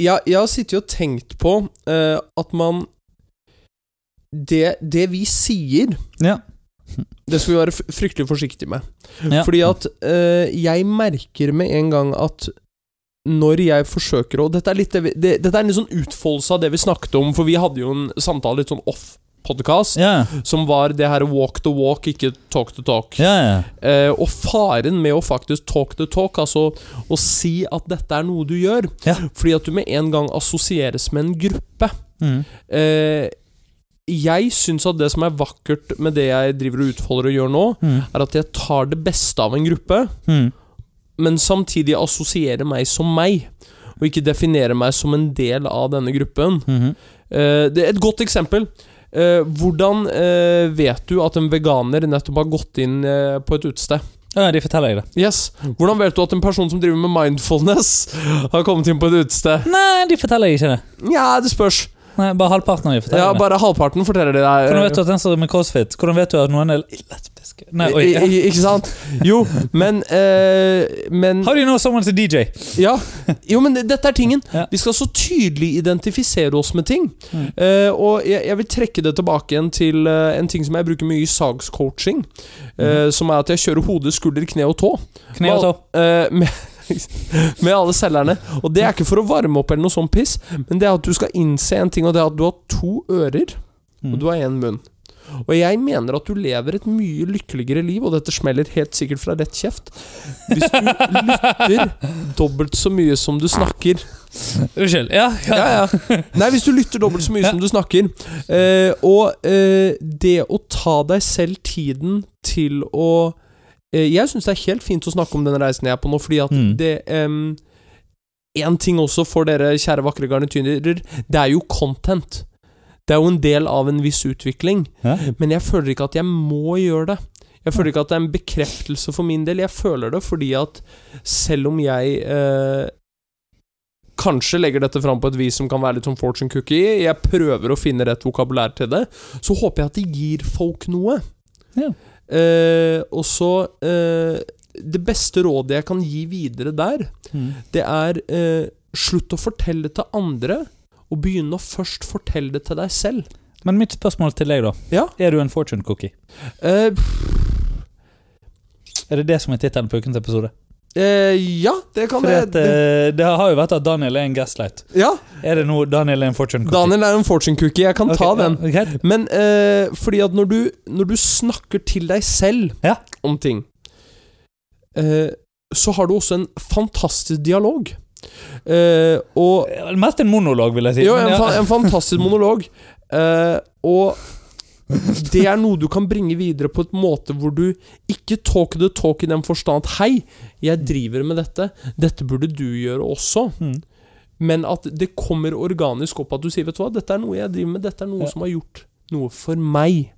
Speaker 2: jeg, jeg har sittet og tenkt på eh, at man det, det vi sier,
Speaker 1: Ja.
Speaker 2: det skal vi være f- fryktelig forsiktige med.
Speaker 1: Ja.
Speaker 2: Fordi at eh, jeg merker med en gang at når jeg forsøker å Dette er, litt, det vi- det, dette er en litt sånn utfoldelse av det vi snakket om, for vi hadde jo en samtale litt sånn off-podkast.
Speaker 1: Ja,
Speaker 2: som var det her walk the walk, ikke talk the talk.
Speaker 1: ja, ja.
Speaker 2: Eh, og faren med å faktisk talk the talk, altså å si at dette er noe du gjør,
Speaker 1: Ja.
Speaker 2: fordi at du med en gang assosieres med en gruppe.
Speaker 1: Mm.
Speaker 2: Eh, jeg syns at det som er vakkert med det jeg driver og utfolder og gjør nå,
Speaker 1: Mm.
Speaker 2: er at jeg tar det beste av en gruppe,
Speaker 1: Mm.
Speaker 2: men samtidig assosierer meg som meg. Og ikke definerer meg som en del av denne gruppen.
Speaker 1: Mhm.
Speaker 2: Eh, det er et godt eksempel. Eh, hvordan eh, vet du at en veganer nettopp har gått inn eh, på et utested?
Speaker 1: Ja, de forteller deg det.
Speaker 2: Yes. Hvordan vet du at en person som driver med mindfulness, har kommet inn på et utested?
Speaker 1: Nei, de forteller ikke det.
Speaker 2: Nja, det spørs.
Speaker 1: Nei, Bare halvparten av de forteller
Speaker 2: Ja,
Speaker 1: det.
Speaker 2: bare halvparten forteller det deg.
Speaker 1: Hvordan vet du at den som er med crossfit Hvordan vet du at noen er lesbiske? Nei, oi.
Speaker 2: I, i, ikke sant? Jo, men eh, Men
Speaker 1: How do you know someone's a DJ?
Speaker 2: Ja. Jo, men det- dette er tingen.
Speaker 1: Ja.
Speaker 2: Vi skal så tydelig identifisere oss med ting.
Speaker 1: Mm.
Speaker 2: Eh, og jeg, jeg vil trekke det tilbake igjen til eh, en ting som jeg bruker mye i sagscoaching. eh,
Speaker 1: Mm.
Speaker 2: Som er at jeg kjører hode, skulder, kne og tå.
Speaker 1: Kne og tå.
Speaker 2: Eh, med, med alle selgerne. Og det er ikke for å varme opp eller noe sånn piss, men det er at du skal innse en ting, og det er at du har to ører,
Speaker 1: Hmm. Mm.
Speaker 2: og du har én munn. Og jeg mener at du lever et mye lykkeligere liv, og dette smeller helt sikkert fra rett kjeft, hvis du lytter dobbelt så mye som du snakker.
Speaker 1: Unnskyld. Ja, ja.
Speaker 2: Ja, ja. Nei, hvis du lytter dobbelt så mye
Speaker 1: Ja.
Speaker 2: som du snakker. Eh, og eh, det å ta deg selv tiden til å eh, Jeg syns det er helt fint å snakke om den reisen jeg er på nå, fordi at
Speaker 1: Mm.
Speaker 2: det em, én ting også for dere kjære vakre garnityrer. Det er jo content. Det er jo en del av en viss utvikling.
Speaker 1: Ja.
Speaker 2: Men jeg føler ikke at jeg må gjøre det. Jeg føler ikke at det er en bekreftelse for min del. Jeg føler det fordi at selv om jeg eh, kanskje legger dette fram på et vis som kan være litt som fortune cookie, jeg prøver å finne rett vokabulær til det, så håper jeg at det gir folk noe.
Speaker 1: Ja.
Speaker 2: Eh, og så eh, Det beste rådet jeg kan gi videre der,
Speaker 1: Mm.
Speaker 2: det er eh, Slutt å fortelle det til andre, og begynn å først fortelle det til deg selv.
Speaker 1: Men mitt spørsmål til deg, da.
Speaker 2: Ja.
Speaker 1: Er du en fortune cookie?
Speaker 2: Eh,
Speaker 1: Er det det som er tittelen på ukens episode?
Speaker 2: eh, ja, det kan
Speaker 1: Fordi at,
Speaker 2: det.
Speaker 1: eh, det har jo vært at Daniel er en gaslight.
Speaker 2: Ja,
Speaker 1: Er det nå Daniel er en fortune cookie?
Speaker 2: Daniel er en fortune cookie. Jeg kan
Speaker 1: Ok,
Speaker 2: ta den.
Speaker 1: Ja, greit.
Speaker 2: Men eh, fordi at når du, når du snakker til deg selv
Speaker 1: Ja.
Speaker 2: om ting, eh, så har du også en fantastisk dialog. Eh, og
Speaker 1: Det er vel Mest en monolog, vil jeg si.
Speaker 2: Jo,
Speaker 1: men
Speaker 2: en,
Speaker 1: ja.
Speaker 2: fa en fantastisk monolog. Eh, og det er noe du kan bringe videre på et måte hvor du ikke talk the talk i den forstand at Hei, jeg driver med dette. Dette burde du gjøre også.
Speaker 1: Mm.
Speaker 2: Men at det kommer organisk opp at du sier Vet du hva, dette er noe jeg driver med. Dette er noe
Speaker 1: Ja.
Speaker 2: som har gjort noe for meg.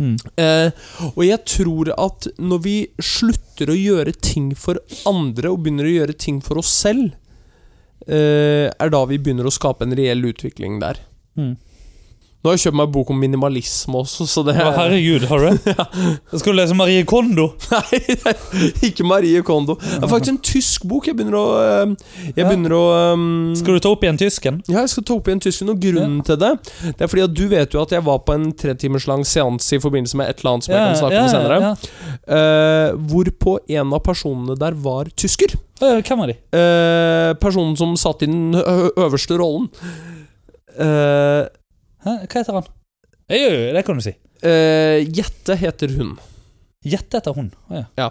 Speaker 1: Mm.
Speaker 2: Eh, og jeg tror at når vi slutter å gjøre ting for andre, og begynner å gjøre ting for oss selv, eh, er da vi begynner å skape en reell utvikling der.
Speaker 1: Mm.
Speaker 2: Nå har jeg kjøpt meg bok om minimalisme også, så det
Speaker 1: Å, herregud, har du det? Jeg skulle lese Marie Kondo.
Speaker 2: Nei, det er ikke Marie Kondo. Det er faktisk en tysk bok. Jeg begynner å eh,
Speaker 1: Ja.
Speaker 2: Jeg begynner å eh,
Speaker 1: Skal du ta opp igjen tysken?
Speaker 2: Ja, jeg skal ta opp igjen tysken, og grunnen til det Det er fordi at du vet jo at jeg var på en tretimers lang seanse i forbindelse med et eller annet som jeg kan snakke om senere.
Speaker 1: ja.
Speaker 2: Eh, hvorpå en av personene der var tysker.
Speaker 1: Eh, Hvem er de?
Speaker 2: Eh, personen som satt i den ø- øverste rollen. Eh,
Speaker 1: Hæ? Hva heter han? Eh, Jo, jo, det kan du si.
Speaker 2: eh, Jette heter hun.
Speaker 1: Gjett etter hun. Å, ja.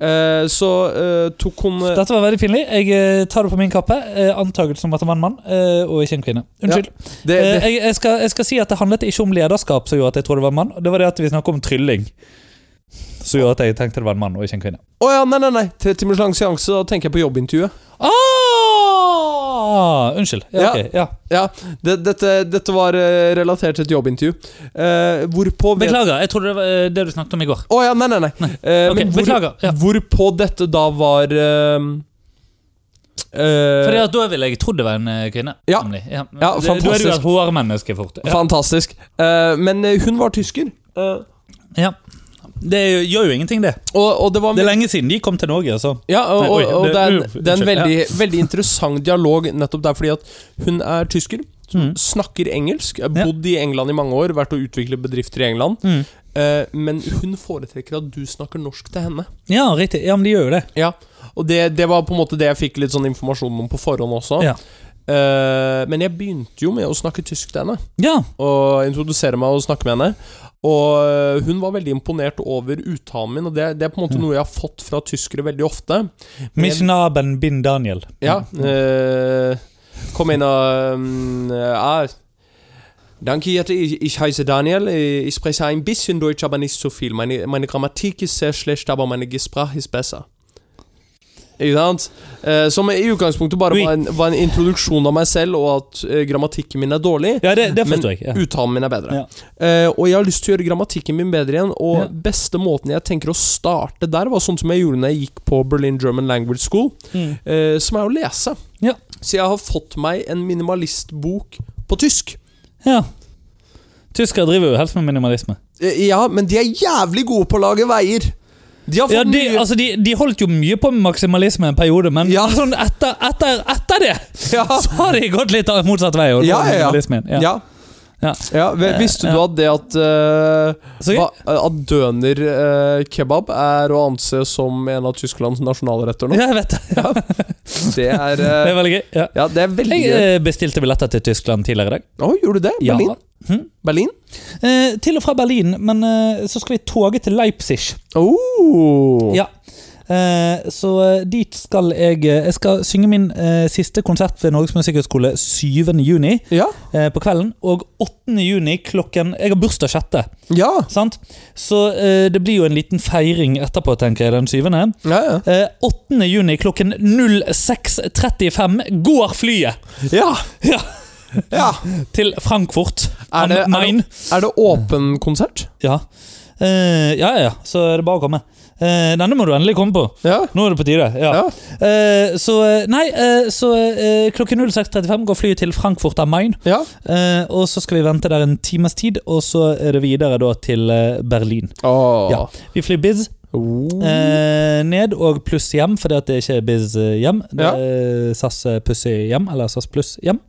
Speaker 2: Eh, så eh, tok hun eh,
Speaker 1: Dette var veldig pinlig. Jeg eh, tar det på min kappe. Eh, Antakelsen om at det var en mann, eh, og ikke en kvinne. Unnskyld.
Speaker 2: det,
Speaker 1: Eh,
Speaker 2: det,
Speaker 1: Jeg, jeg, skal, jeg skal si at det handlet ikke om lederskap som gjorde at jeg trodde det var en mann. Det var det at vi snakket om trylling. Som gjorde at jeg tenkte det var en mann og ikke en kvinne.
Speaker 2: Å ja, nei, nei, nei. Tre timers lang seanse, da tenker jeg på jobbintervjuet.
Speaker 1: Ah! Unnskyld. Ja,
Speaker 2: Ja.
Speaker 1: ok, ja.
Speaker 2: Ja, det, dette, dette var eh, relatert til et jobbintervju. Eh, hvorpå vet-
Speaker 1: Beklager, jeg trodde det var eh, det du snakket om i går.
Speaker 2: Å ja, nei, nei, nei. Eh,
Speaker 1: Ok,
Speaker 2: men hvor,
Speaker 1: beklager. Ja.
Speaker 2: Hvorpå dette da var eh, eh,
Speaker 1: Fordi at da ville jeg trodd det var en eh, kvinne.
Speaker 2: Ja.
Speaker 1: nemlig. ja.
Speaker 2: Ja,
Speaker 1: Du- Du er jo
Speaker 2: fantastisk.
Speaker 1: et HR-menneske fort. Ja.
Speaker 2: Fantastisk. Eh, men eh, hun var tysker. eh,
Speaker 1: ja. Det er jo- gjør jo ingenting, det.
Speaker 2: og, og det var
Speaker 1: Det er lenge siden de kom til Norge. altså.
Speaker 2: ja, og,
Speaker 1: Nei,
Speaker 2: og,
Speaker 1: oi,
Speaker 2: og
Speaker 1: det-
Speaker 2: det er en,
Speaker 1: uff,
Speaker 2: det er en
Speaker 1: unnskyld,
Speaker 2: veldig, veldig interessant dialog nettopp der, fordi at hun er tysker,
Speaker 1: Mm.
Speaker 2: snakker engelsk, har
Speaker 1: Ja.
Speaker 2: bodd i England i mange år, vært og utviklet bedrifter i England,
Speaker 1: Mm.
Speaker 2: eh, men hun foretrekker at du snakker norsk til henne.
Speaker 1: Ja, riktig. Ja, men de gjør jo det.
Speaker 2: Ja, og det, det var på en måte det jeg fikk litt sånn informasjon om på forhånd også.
Speaker 1: Ja.
Speaker 2: Eh, men jeg begynte jo med å snakke tysk til henne,
Speaker 1: Ja,
Speaker 2: og introdusere meg og snakke med henne. Og eh, hun var veldig imponert over uttalen min, og det, det er på en måte
Speaker 1: Ja.
Speaker 2: noe jeg har fått fra tyskere veldig ofte.
Speaker 1: Mishnaben bin Daniel.
Speaker 2: Ja,
Speaker 1: Mm.
Speaker 2: eh, kom inn og mm, ah, Danke, Jette. Ich, ich heiße Daniel. Eh, Ich spreche ein bisschen Deutsch, aber nicht so viel. Meine, meine Grammatik ist sehr schlecht, aber meine Gesprache ist besser. Ikke sant? Eh, som i utgangspunktet bare
Speaker 1: Ui.
Speaker 2: var en, var en introduksjon av meg selv, og at eh, grammatikken min er dårlig.
Speaker 1: Ja, det, det
Speaker 2: Men-
Speaker 1: forstår jeg. Ja.
Speaker 2: Uttalen min er bedre. Eh, og jeg har lyst til å gjøre grammatikken min bedre igjen. Og
Speaker 1: Ja.
Speaker 2: beste måten jeg tenker å starte der, var sånn som jeg gjorde når jeg gikk på Berlin German Language School,
Speaker 1: Mm.
Speaker 2: eh, som er å lese.
Speaker 1: Ja.
Speaker 2: Så jeg har fått meg en minimalistbok på tysk.
Speaker 1: ja. Tyskere driver jo helst med minimalisme.
Speaker 2: Eh, ja, men de er jævlig gode på å lage veier. De har fått
Speaker 1: Ja, de,
Speaker 2: mye
Speaker 1: altså, de, de holdt jo mye på med maksimalisme en periode, men
Speaker 2: Ja.
Speaker 1: sånn etter, etter, etter det
Speaker 2: ja.
Speaker 1: så har de gått litt av motsatt vei. Og nå er
Speaker 2: Ja, ja, ja.
Speaker 1: minimalismen,
Speaker 2: Ja. Ja.
Speaker 1: Ja. Eh,
Speaker 2: vel, Visste du
Speaker 1: Ja.
Speaker 2: at det at eh,
Speaker 1: Så,
Speaker 2: hva, At døner eh, kebab er å anse som en av Tysklands nasjonalretter nå?
Speaker 1: ja, jeg vet det.
Speaker 2: Det er
Speaker 1: Det
Speaker 2: eh,
Speaker 1: er veldig gøy. Ja.
Speaker 2: Ja, det er veldig
Speaker 1: Jeg
Speaker 2: gøy.
Speaker 1: eh, bestilte billetter til Tyskland tidligere i dag.
Speaker 2: Å, gjorde du det?
Speaker 1: Ja.
Speaker 2: Berlin?
Speaker 1: Hm?
Speaker 2: Berlin?
Speaker 1: Eh, til og fra Berlin, men eh, så skal vi toge til Leipzig.
Speaker 2: Oh.
Speaker 1: Ja. Eh, så eh, dit skal jeg eh, Jeg skal synge min eh, siste konsert ved Norges Musikkhøgskole 7. juni
Speaker 2: Ja.
Speaker 1: eh, på kvelden. Og 8. juni klokken Jeg har bursdag 6.,
Speaker 2: Ja.
Speaker 1: sant? Så eh, det blir jo en liten feiring etterpå, tenker jeg, den 7.
Speaker 2: Ja, ja.
Speaker 1: Eh, 8. juni klokken 06.35 går flyet
Speaker 2: ja.
Speaker 1: Ja.
Speaker 2: ja.
Speaker 1: til Frankfurt.
Speaker 2: Er, det,
Speaker 1: am
Speaker 2: er,
Speaker 1: Main.
Speaker 2: det, er det åpen konsert?
Speaker 1: Ja. Eh, ja, ja, ja. Så er det bare å komme. Eh, denne må du endelig komme på.
Speaker 2: Ja.
Speaker 1: Nå er det på tide. Ja.
Speaker 2: Ja.
Speaker 1: Eh, så eh, Nei, eh, så eh, klokken 06.35 går flyet til Frankfurt am Main.
Speaker 2: ja.
Speaker 1: Eh, og så skal vi vente der en times tid, og så er det videre da til eh, Berlin.
Speaker 2: Åh.
Speaker 1: Ja. Vi flyr Biz
Speaker 2: Ah. Oh.
Speaker 1: eh, ned og pluss hjem, fordi at det ikke er Biz eh, hjem. Det
Speaker 2: Ja.
Speaker 1: er SAS eh, Pussy hjem, eller SAS Pluss hjem.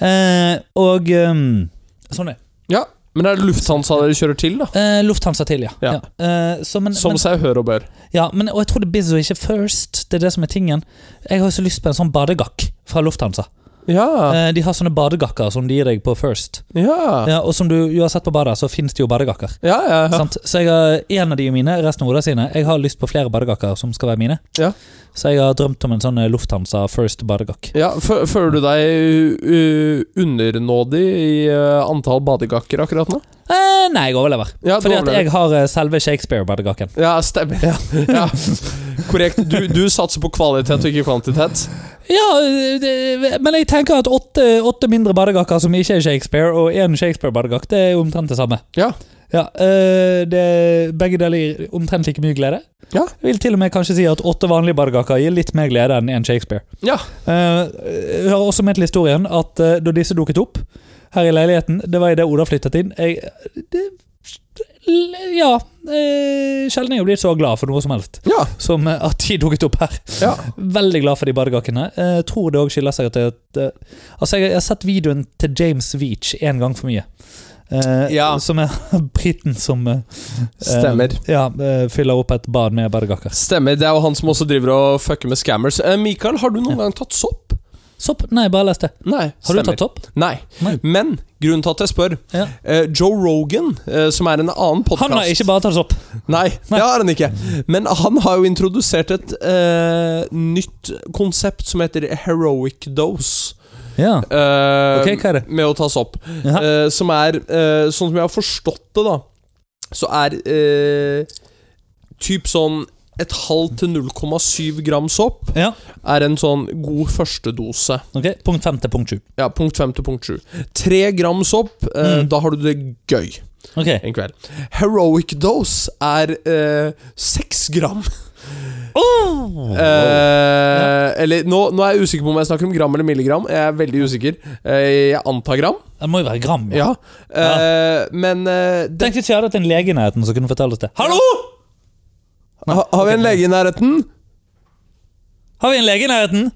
Speaker 1: Eh, og ehm, sånn er det.
Speaker 2: ja. Men er det Lufthansa dere kjører til, da?
Speaker 1: Eh, Lufthansa til, ja.
Speaker 2: Ja.
Speaker 1: Eh, så, men,
Speaker 2: Som
Speaker 1: men,
Speaker 2: seg hør og bør.
Speaker 1: ja men, og jeg tror det er Biz og ikke First. Det er det som er tingen. Jeg har jo så lyst på en sånn badegakk fra Lufthansa.
Speaker 2: Ja.
Speaker 1: Eh, De har sånne badegakker som de gir deg på First.
Speaker 2: Ja.
Speaker 1: Ja, og som du uansett på badet, så finnes det jo badegakker.
Speaker 2: Ja, ja, ja.
Speaker 1: Sant? Så jeg har en av de er mine, resten av Oda sine. Jeg har lyst på flere badegakker som skal være mine.
Speaker 2: Ja.
Speaker 1: Så jeg har drømt om en sånn eh, Lufthansa First badegakk.
Speaker 2: ja fø- Føler du deg uh, undernådig i uh, antall badegakker akkurat nå?
Speaker 1: Eh, nei, jeg overlever.
Speaker 2: Ja, du
Speaker 1: Fordi at
Speaker 2: overlever.
Speaker 1: jeg har eh, selve Shakespeare-badegakken.
Speaker 2: Ja, stemmer. Ja. Korrekt. Du, du satser på kvalitet og ikke kvantitet.
Speaker 1: Ja, eh, det, men jeg tenker at åtte, åtte mindre badegakker som ikke er Shakespeare, og én Shakespeare-badegakk, det er jo omtrent det samme.
Speaker 2: Ja.
Speaker 1: Ja, eh, det, begge deler gir omtrent like mye glede.
Speaker 2: Ja.
Speaker 1: Jeg vil til og med kanskje si at åtte vanlige badegakker gir litt mer glede enn én Shakespeare.
Speaker 2: Ja.
Speaker 1: Eh, Jeg hører også med til historien at eh, da disse dukket opp her i leiligheten, det var idet Oda flyttet inn jeg, det, Ja. eh, Sjelden er jeg blitt så glad for noe som helst
Speaker 2: Ja.
Speaker 1: som eh, at de dukket opp her.
Speaker 2: ja.
Speaker 1: Veldig glad for de badegakkene. Eh, tror det òg skylder seg at, jeg- at eh, Altså, jeg, jeg har sett videoen til James Veach én gang for mye. Eh,
Speaker 2: Ja.
Speaker 1: Som er briten som eh,
Speaker 2: Stemmer.
Speaker 1: eh, ja, eh, fyller opp et bad med badegakker.
Speaker 2: Stemmer. Det er jo han som også driver og fucker med scammers. Eh, Mikael, har du noen gang tatt sopp?
Speaker 1: Sopp? Nei, bare les det.
Speaker 2: Nei.
Speaker 1: Har du tatt sopp?
Speaker 2: Nei.
Speaker 1: Nei.
Speaker 2: Men grunnen til at jeg spør
Speaker 1: Ja.
Speaker 2: eh, Joe Rogan, eh, som er en annen podkast
Speaker 1: Han har ikke bare tatt sopp.
Speaker 2: Nei,
Speaker 1: Nei.
Speaker 2: det har han ikke. Men han har jo introdusert et eh, nytt konsept som heter heroic dose.
Speaker 1: Ja.
Speaker 2: eh,
Speaker 1: Ok, hva er det?
Speaker 2: Med å ta sopp.
Speaker 1: Jaha.
Speaker 2: Eh, som er, eh, sånn som jeg har forstått det, da, så er eh, typ sånn et halvt til 0,7 gram sopp
Speaker 1: Ja.
Speaker 2: er en sånn god førstedose.
Speaker 1: Ok, Punkt fem til punkt sju.
Speaker 2: Ja, punkt 5 til punkt 7. 3 gram sopp, eh,
Speaker 1: Mm.
Speaker 2: da har du det gøy
Speaker 1: Ok,
Speaker 2: en kveld. Heroic dose er eh, 6 gram. Eh, Eller nå, nå er jeg usikker på om jeg snakker om gram eller milligram. Jeg er veldig usikker. Eh, jeg antar gram.
Speaker 1: Det må jo være gram. Ja.
Speaker 2: Ja. Eh, Men eh, det,
Speaker 1: Tenk hvis vi hadde hatt en lege i nærheten som kunne fortelle oss det. Hallo!
Speaker 2: ha, Har vi en lege i nærheten?
Speaker 1: Har vi en lege i nærheten?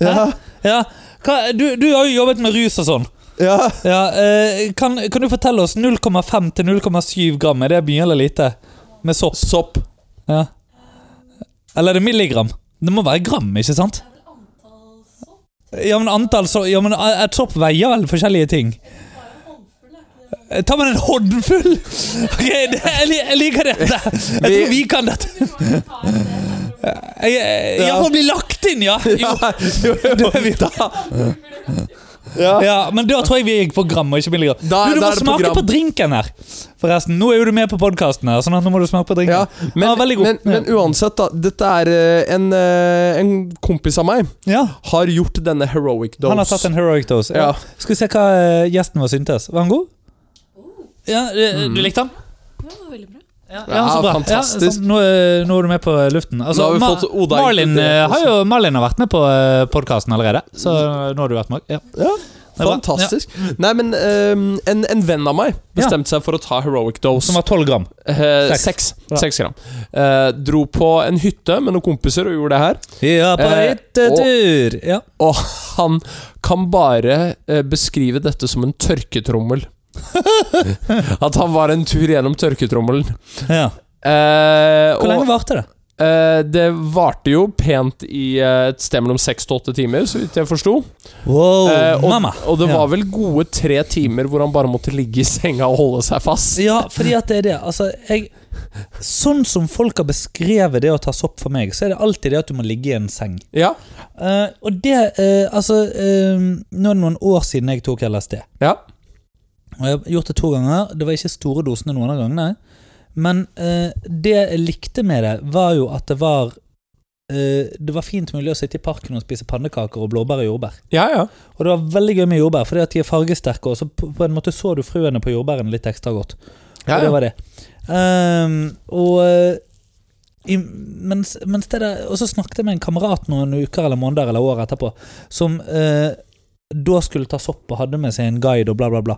Speaker 2: Ja.
Speaker 1: Ja. Hva, du, du har jo jobbet med rus og sånn.
Speaker 2: ja.
Speaker 1: Ja, eh, kan, kan du fortelle oss 0,5 til 0,7 gram? Er det mye eller lite? Med sopp?
Speaker 2: Sopp.
Speaker 1: Ja. Eller er det milligram? Det må være gram, ikke sant? Ja, men antall sopp Ja, men et sopp veier vel forskjellige ting? Eh, Tar man en håndfull? Ok, det, jeg, li- jeg liker dette. Jeg
Speaker 2: Vi-
Speaker 1: tror vi kan dette. Jeg, jeg, jeg får bli lagt inn, ja. Jo.
Speaker 2: Jo, jo, jo. Da, ja.
Speaker 1: Ja, men da tror jeg vi gikk på gram og ikke milligram. Du,
Speaker 2: Da-
Speaker 1: du må
Speaker 2: da er det på
Speaker 1: smake
Speaker 2: gram.
Speaker 1: på, drinken her. Forresten, nå er jo du med på podkasten her, sånn at nå må du smake på drinken.
Speaker 2: Ja, men,
Speaker 1: Ja, veldig god.
Speaker 2: men, men uansett, da. Dette er eh, en, eh, en kompis av meg
Speaker 1: Ja,
Speaker 2: har gjort denne heroic dose.
Speaker 1: Han har tatt en heroic dose. Ja.
Speaker 2: Ja.
Speaker 1: Skal vi se hva eh, gjesten vår syntes. Var han god? Ja, eh, Du likte han?
Speaker 3: Ja, det var veldig bra.
Speaker 1: Ja,
Speaker 2: Mm. Ja,
Speaker 1: så bra.
Speaker 2: fantastisk.
Speaker 1: sånn, nå, eh, nå er du med på luften. Altså,
Speaker 2: Nå har vi
Speaker 1: Ma-
Speaker 2: fått Oda
Speaker 1: Marlin,
Speaker 2: inkludert
Speaker 1: eh, har jo, Marlin har vært med på podkasten allerede, så nå har du vært med. Ja.
Speaker 2: Ja,
Speaker 1: Det er bra.
Speaker 2: Fantastisk. Nei, men eh, en, en venn av meg bestemte seg for å ta heroic
Speaker 1: Ja. Som
Speaker 2: dose.
Speaker 1: var tolv gram.
Speaker 2: Eh,
Speaker 1: Seks.
Speaker 2: Seks
Speaker 1: Ja.
Speaker 2: Seks gram. Eh, dro på en hytte med noen kompiser og gjorde det her.
Speaker 1: Ja, på
Speaker 2: Eh,
Speaker 1: hyttetur! Ja.
Speaker 2: Og han kan bare eh, beskrive dette som en tørketrommel. At han var en tur gjennom tørketrommelen.
Speaker 1: ja.
Speaker 2: Eh,
Speaker 1: Hvor
Speaker 2: og
Speaker 1: lenge varte det?
Speaker 2: eh, det varte jo pent i eh, et sted mellom seks til åtte timer, så vidt jeg forsto.
Speaker 1: Wow,
Speaker 2: Eh, og,
Speaker 1: mamma!
Speaker 2: og det
Speaker 1: Ja.
Speaker 2: var vel gode tre timer hvor han bare måtte ligge i senga og holde seg fast.
Speaker 1: Ja, fordi at det er det. Altså, jeg, Sånn som folk har beskrevet det å ta sopp for meg, så er det alltid det at du må ligge i en seng.
Speaker 2: Ja.
Speaker 1: Eh, og det eh, Altså, eh, nå er det noen år siden jeg tok LSD.
Speaker 2: Ja.
Speaker 1: Og jeg har gjort det to ganger. Det var ikke store dosene noen av gangene. Men eh, det jeg likte med det, var jo at det var eh, Det var fint mulig å sitte i parken og spise pannekaker og blåbær og jordbær.
Speaker 2: Ja, ja.
Speaker 1: Og det var veldig gøy med jordbær, fordi at de er fargesterke, og så på på en måte så du frøene på jordbærene litt ekstra godt.
Speaker 2: ja,
Speaker 1: Og det
Speaker 2: ja.
Speaker 1: var det. Ehm, og eh, i, mens, mens det der, og så snakket jeg med en kamerat noen uker eller måneder eller år etterpå, som eh, da skulle ta sopp og hadde med seg en guide og bla, bla, bla.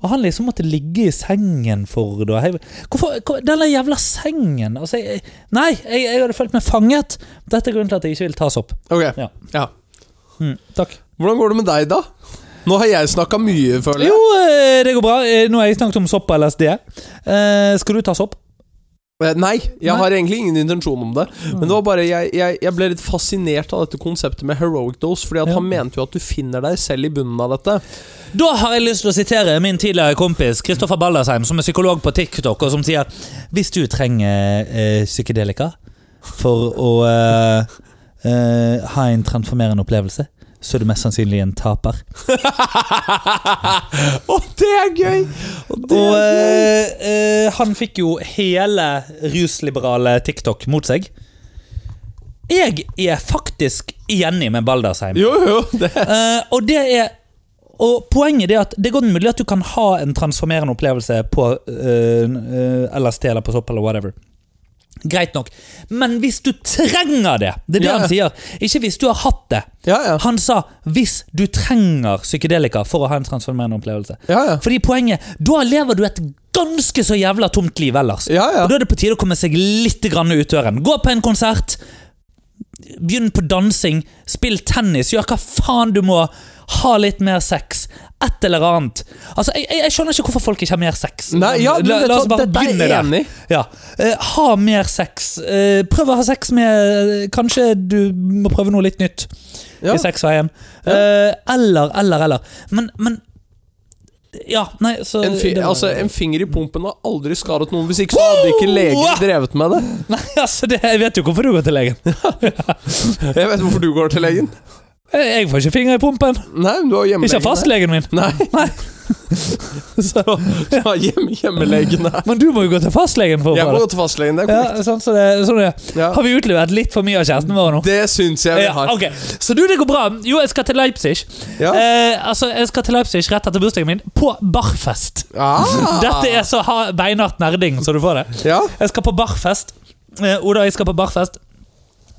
Speaker 1: Og han liksom måtte ligge i sengen for det. og jeg- Hvorfor, hvor, den der jævla sengen! Altså, jeg, nei, jeg, jeg hadde følt meg fanget! Dette er grunnen til at jeg ikke vil ta sopp.
Speaker 2: Ok.
Speaker 1: Ja.
Speaker 2: Ja.
Speaker 1: Mm, takk.
Speaker 2: Hvordan går det med deg, da? Nå har jeg snakka mye, føler jeg.
Speaker 1: Jo, eh, det går bra. Eh, Nå har jeg snakket om sopp og LSD. Eh, skal du ta sopp?
Speaker 2: Eh, Nei, jeg
Speaker 1: Nei.
Speaker 2: har egentlig ingen intensjon om det. Men det var bare jeg, jeg, jeg ble litt fascinert av dette konseptet med heroic dose. Fordi at
Speaker 1: Ja.
Speaker 2: han mente jo at du finner deg selv i bunnen av dette.
Speaker 1: Da har jeg lyst til å sitere min tidligere kompis Kristoffer Baldersheim, som er psykolog på TikTok, og som sier hvis du trenger eh, psykedelika for å eh, eh, ha en transformerende opplevelse, så er du mest sannsynlig en taper.
Speaker 2: Og det er gøy! Og det
Speaker 1: Og
Speaker 2: er gøy.
Speaker 1: eh, eh, han fikk jo hele rusliberale TikTok mot seg. Jeg er faktisk enig med Baldersheim.
Speaker 2: Jo, jo, det
Speaker 1: Eh, og det er og Poenget er at det er godt mulig at du kan ha en transformerende opplevelse på eh, eh, LSD eller på sopp eller whatever. Greit nok. Men hvis du trenger det Det er det
Speaker 2: Ja.
Speaker 1: han sier. Ikke hvis du har hatt det.
Speaker 2: Ja, ja.
Speaker 1: Han sa 'hvis du trenger psykedelika for å ha en transformerende opplevelse'.
Speaker 2: Ja, ja.
Speaker 1: Fordi poenget Da lever du et ganske så jævla tomt liv ellers.
Speaker 2: Ja, ja.
Speaker 1: Og Da er det på tide å komme seg litt grann ut døren. Gå på en konsert, begynn på dansing, spill tennis, gjør hva faen du må. Ha litt mer sex. Et eller annet. Altså, Jeg, jeg, jeg skjønner ikke hvorfor folk ikke har mer sex.
Speaker 2: Nei, ja, men
Speaker 1: la,
Speaker 2: vet du
Speaker 1: la oss
Speaker 2: hva,
Speaker 1: bare
Speaker 2: dette er jeg
Speaker 1: begynne der.
Speaker 2: enig i.
Speaker 1: Ja. Eh, ha mer sex. Eh, prøv å ha sex med eh, Kanskje du må prøve noe litt nytt
Speaker 2: Ja.
Speaker 1: i sexveien. Eh, eller, eller, eller. Men, men Ja, nei, så
Speaker 2: En, fi,
Speaker 1: det var-
Speaker 2: altså, en finger i pumpen har aldri skadet noen. Hvis ikke så hadde ikke leger drevet med det.
Speaker 1: Nei, altså, det, jeg vet jo hvorfor du går til legen.
Speaker 2: Jeg vet hvorfor du går til legen.
Speaker 1: Jeg jeg får ikke finger i pumpen.
Speaker 2: Nei, men du har
Speaker 1: Ikke
Speaker 2: hjemmelegen
Speaker 1: av fastlegen min.
Speaker 2: her. Nei,
Speaker 1: Så,
Speaker 2: du har hjem, hjemmelegen her.
Speaker 1: men du må jo gå til fastlegen for å
Speaker 2: Jeg må
Speaker 1: få det.
Speaker 2: gå til fastlegen. Det, er
Speaker 1: Ja,
Speaker 2: korrekt.
Speaker 1: sånn, så det, sånn det. er.
Speaker 2: Ja.
Speaker 1: Har vi Eh, utlevert litt for mye av kjæresten vår nå?
Speaker 2: det syns jeg vi
Speaker 1: Ja,
Speaker 2: har.
Speaker 1: ok, Så du, det går bra. Jo, jeg skal til Leipzig.
Speaker 2: Ja.
Speaker 1: Eh, altså, Jeg skal til Leipzig rett etter bursdagen min, på barfest.
Speaker 2: Ah.
Speaker 1: Dette er så ha- beinhardt nerding, så du får det.
Speaker 2: Ja.
Speaker 1: Jeg skal på barfest. Eh, Oda, jeg skal på barfest.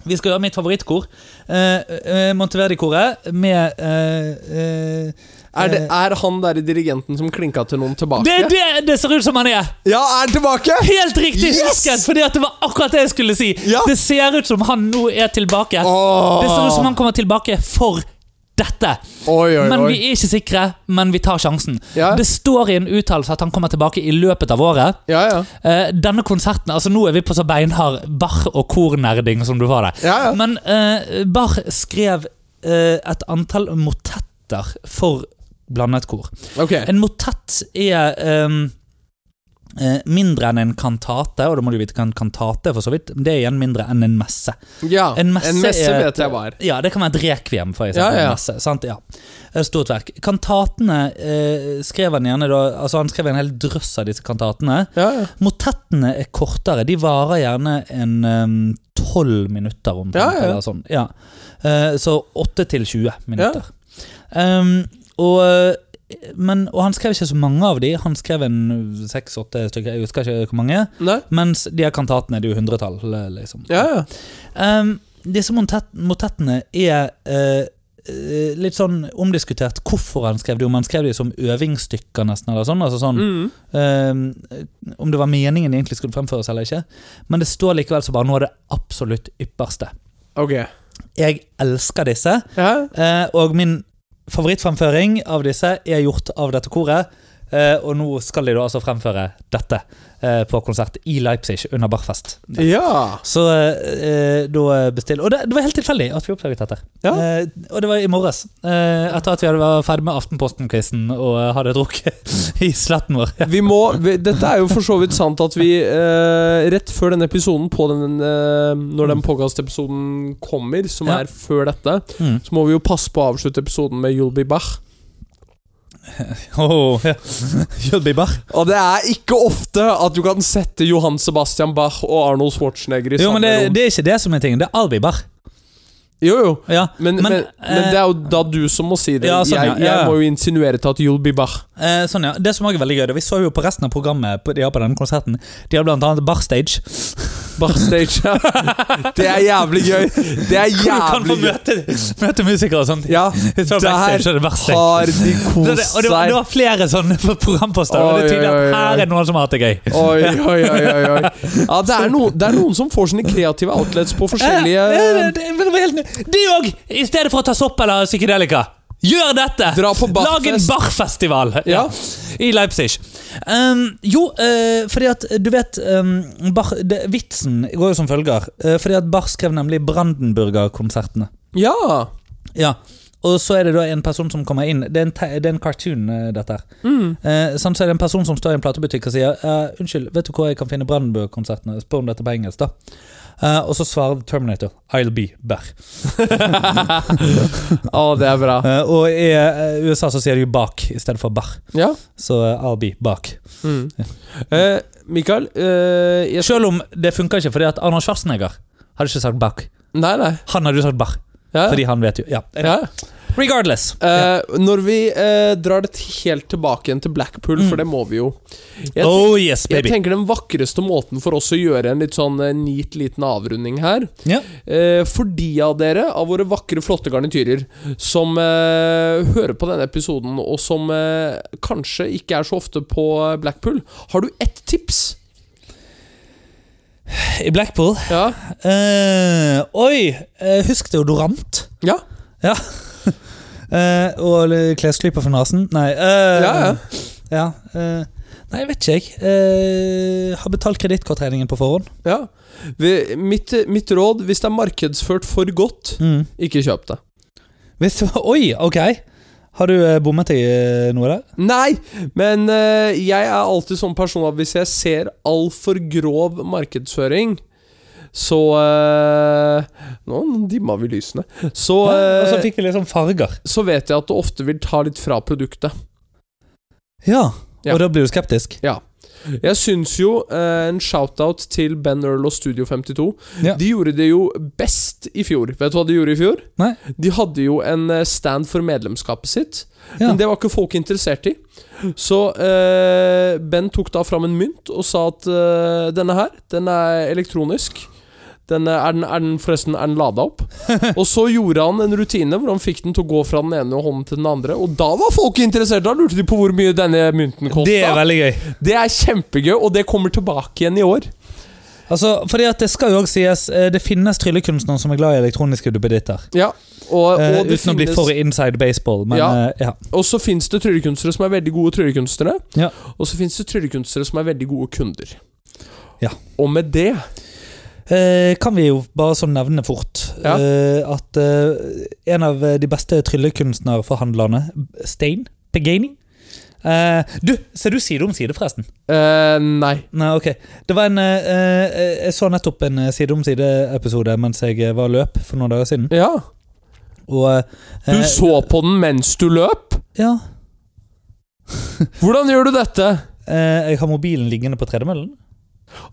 Speaker 1: Vi skal gjøre mitt favorittkor. Eh, eh, Monteverdi-koret med eh, eh,
Speaker 2: Er, det, er han der i dirigenten som klinka til noen tilbake?
Speaker 1: det er det det ser ut som han er!
Speaker 2: Ja, er han tilbake!
Speaker 1: Helt riktig!
Speaker 2: Yes!
Speaker 1: Yes! Fordi at Det var akkurat det jeg skulle si.
Speaker 2: Ja.
Speaker 1: Det ser ut som han nå er tilbake.
Speaker 2: Åh.
Speaker 1: Det ser ut som han kommer tilbake for dette.
Speaker 2: Oi, oi,
Speaker 1: Men
Speaker 2: oi.
Speaker 1: vi er ikke sikre, men vi tar sjansen.
Speaker 2: Ja.
Speaker 1: Det står i en uttalelse at han kommer tilbake i løpet av året.
Speaker 2: Ja, ja.
Speaker 1: Eh, denne konserten, altså Nå er vi på så beinhard bar- og kornerding som du var det.
Speaker 2: Ja, ja.
Speaker 1: Men eh, Barr skrev eh, et antall motetter for blandet kor.
Speaker 2: Ok.
Speaker 1: En motett er ehm, eh, mindre enn en kantate, og da må du vite hva en kantate er, for så vidt. Det er igjen mindre enn en messe.
Speaker 2: Ja.
Speaker 1: En messe, er et-
Speaker 2: vet jeg hva er.
Speaker 1: Ja, det kan være et rekviem, for eksempel.
Speaker 2: Ja, ja, ja.
Speaker 1: en Messe, sant? Ja. Et Stort verk. Kantatene eh, skrev han gjerne da Altså, han skrev en hel drøss av disse kantatene.
Speaker 2: Ja, ja.
Speaker 1: Motettene er kortere. De varer gjerne en tolv minutter omtrent.
Speaker 2: Ja, ja.
Speaker 1: Eller sånn. ja. Eh, så 8 til 20 minutter. Em, og, eh, men, og han skrev ikke så mange av de. Han skrev en seks-åtte stykker, jeg husker ikke hvor mange.
Speaker 2: Nei.
Speaker 1: Mens de her kantatene det er jo hundretall. Liksom.
Speaker 2: Ja, ja.
Speaker 1: Em, disse motet- motettene er eh, eh, litt sånn omdiskutert hvorfor han skrev det. Om han skrev det som øvingsstykker, nesten. Eller sånn, altså sånn
Speaker 2: Mm.
Speaker 1: Ehm, om det var meningen de egentlig skulle fremføres eller ikke. Men det står likevel så bare noe av det absolutt ypperste.
Speaker 2: Ok.
Speaker 1: Jeg elsker disse,
Speaker 2: Ja.
Speaker 1: eh, og min favorittfremføring av disse er gjort av dette koret. Eh, og nå skal de da altså fremføre dette eh, på konsert i Leipzig under Bachfest.
Speaker 3: Ja.
Speaker 1: Så eh, da bestill Og det, det var helt tilfeldig at vi oppdaget dette.
Speaker 3: Ja.
Speaker 1: Eh, og det var i morges. Eh, etter at vi hadde vært ferdig med Aftenposten-quizen og hadde drukket i sletten vår.
Speaker 2: Vi må, vi, dette er jo for så vidt sant at vi eh, rett før denne episoden, på den, eh, når den podkast-episoden kommer, som
Speaker 1: Ja.
Speaker 2: er før dette,
Speaker 1: Mm.
Speaker 2: så må vi jo passe på å avslutte episoden med Julbi Bach.
Speaker 1: Oh, ja. Jølby Bach.
Speaker 2: Og det er ikke ofte at du kan sette Johan Sebastian Bach og Arnold Schwarzenegger i
Speaker 1: Jo,
Speaker 2: samme
Speaker 1: men det,
Speaker 2: rom.
Speaker 1: det er ikke det som er tingen. Det er Albi Bach.
Speaker 2: Jo, jo.
Speaker 1: Ja.
Speaker 2: Men, men, men,
Speaker 1: eh,
Speaker 2: det er jo da du som må si det.
Speaker 1: Ja, sånn, ja.
Speaker 2: jeg, jeg
Speaker 1: Ja, ja.
Speaker 2: må jo insinuere til at Julbi Bach
Speaker 1: Eh, sånn, ja. Det som også er veldig gøy, da, vi så jo på resten av programmet på, de har på denne konserten, de har blant annet Barstage.
Speaker 2: Bach-stage Det er jævlig gøy! Det er
Speaker 1: Du kan få
Speaker 2: jævlig gøy.
Speaker 1: møte, møte musikere og sånt.
Speaker 2: Ja,
Speaker 1: Så backstage er det verste.
Speaker 2: har de
Speaker 1: Så
Speaker 2: kost
Speaker 1: det, og det, var-
Speaker 2: seg.
Speaker 1: det var flere sånne programposter, og det er tydelig
Speaker 2: Oi, oi,
Speaker 1: at
Speaker 2: oi.
Speaker 1: her er noen som har hatt det gøy.
Speaker 2: Oi, oi, oi, oi, oi. Ja, det er, noen- det er noen som får sine kreative outlets på forskjellige
Speaker 1: Eh, eh, det- det var helt ny- De òg! I stedet for å ta sopp eller psykedelika, gjør dette!
Speaker 2: Dra på
Speaker 1: Lag en
Speaker 2: Bachfest.
Speaker 1: barfestival
Speaker 2: Ja.
Speaker 1: i Leipzig. Um, jo, eh, fordi at du vet um, Bach, det, Vitsen går jo som følger. eh, fordi at Bach skrev nemlig Brandenburger-konsertene.
Speaker 2: Ja.
Speaker 1: Ja, og så er det da en person som kommer inn. Det er en, te det er en cartoon, eh, dette her. Eh, sånn, så er det en person som står i en platebutikk og sier «Eh, Unnskyld, vet du hvor jeg kan finne Brandenburg-konsertene? Spør om dette på engelsk, da. Eh, og så svarer Terminator I'll be Bach.
Speaker 2: Å, det er bra.
Speaker 1: Eh, og i eh, USA så sier de jo bak i stedet for Bach.
Speaker 2: Ja.
Speaker 1: Så eh, I'll be bak.
Speaker 2: Mm. Eh, Mikael eh, jeg,
Speaker 1: Selv om det funker ikke, fordi at Arnold Schwarzenegger hadde ikke sagt Bach.
Speaker 2: Nei, nei.
Speaker 1: Han hadde jo sagt Bach,
Speaker 2: Ja.
Speaker 1: fordi han vet jo Ja.
Speaker 2: ja.
Speaker 1: Regardless.
Speaker 2: Eh, når vi eh, drar det helt tilbake igjen
Speaker 1: Mm.
Speaker 2: til Blackpool, for det må vi jo Jeg,
Speaker 1: oh yes,
Speaker 2: jeg
Speaker 1: baby.
Speaker 2: tenker den vakreste måten for oss å gjøre en litt sånn eh, neat liten avrunding her
Speaker 1: Ja.
Speaker 2: Eh, for de av dere, av våre vakre, flotte garnityrer, som eh, hører på denne episoden, og som eh, kanskje ikke er så ofte på Blackpool, har du ett tips?
Speaker 1: I Blackpool
Speaker 2: Ja.
Speaker 1: Eh, oi! eh, husk deodorant.
Speaker 2: ja.
Speaker 1: Eh, og l- klesklyper for nesen. Nei. eh,
Speaker 2: Ja, ja.
Speaker 1: ja, eh, nei, jeg vet ikke, jeg. Eh, har betalt kredittkortregningen på forhånd.
Speaker 2: ja. Vi, mitt, mitt råd, hvis det er markedsført for godt,
Speaker 1: Mm.
Speaker 2: ikke kjøp det.
Speaker 1: Hvis du, oi, ok! Har du eh, bommet i eh, noe der?
Speaker 2: Nei, men eh, jeg er alltid sånn person at hvis jeg ser altfor grov markedsføring, så eh, Nå dimma vi lysene. Så
Speaker 1: Ja, og
Speaker 2: eh,
Speaker 1: så fikk vi liksom farger.
Speaker 2: så vet jeg at det ofte vil ta litt fra produktet.
Speaker 1: Ja,
Speaker 2: Ja.
Speaker 1: Og da blir du skeptisk?
Speaker 2: Jeg syns jo eh, en shout-out til Ben Earl og Studio 52.
Speaker 1: Ja.
Speaker 2: De gjorde det jo best i fjor. Vet du hva de gjorde i fjor?
Speaker 1: Nei.
Speaker 2: De hadde jo en eh, stand for medlemskapet sitt,
Speaker 1: Ja.
Speaker 2: men det var ikke folk interessert i. Så eh, Ben tok da fram en mynt og sa at eh, denne her, den er elektronisk. Den eh, er, den, er den forresten er den lada opp? Og så gjorde han en rutine hvor han fikk den til å gå fra den ene hånden til den andre. Og da var folk interessert! Da lurte de på hvor mye denne mynten kosta.
Speaker 1: Det er veldig gøy.
Speaker 2: Det er kjempegøy, og det kommer tilbake igjen i år.
Speaker 1: Altså, fordi at Det skal jo også sies eh, Det finnes tryllekunstnere som er glad i elektroniske duppeditter.
Speaker 2: Ja, og, og,
Speaker 1: Eh,
Speaker 2: det
Speaker 1: uten å bli
Speaker 2: finnes-
Speaker 1: for inside baseball, men
Speaker 2: Ja.
Speaker 1: eh, ja.
Speaker 2: og så fins det tryllekunstnere som er veldig gode tryllekunstnere.
Speaker 1: Ja.
Speaker 2: Og så fins det tryllekunstnere som er veldig gode kunder.
Speaker 1: Ja.
Speaker 2: Og med det
Speaker 1: Eh, kan vi jo bare sånn nevne fort
Speaker 2: Ja.
Speaker 1: eh, at eh, en av de beste tryllekunstnerforhandlerne, Stein Pegani eh, Du, ser du side om side, forresten?
Speaker 2: eh, Nei.
Speaker 1: Nei, ok. Det var en eh, eh, Jeg så nettopp en eh, side om side-episode mens jeg eh, var løp for noen dager siden.
Speaker 2: Ja.
Speaker 1: Og
Speaker 2: Du
Speaker 1: eh,
Speaker 2: så på den mens du løp?
Speaker 1: Ja.
Speaker 2: Hvordan gjør du dette?
Speaker 1: Eh, jeg har mobilen liggende på tredemøllen.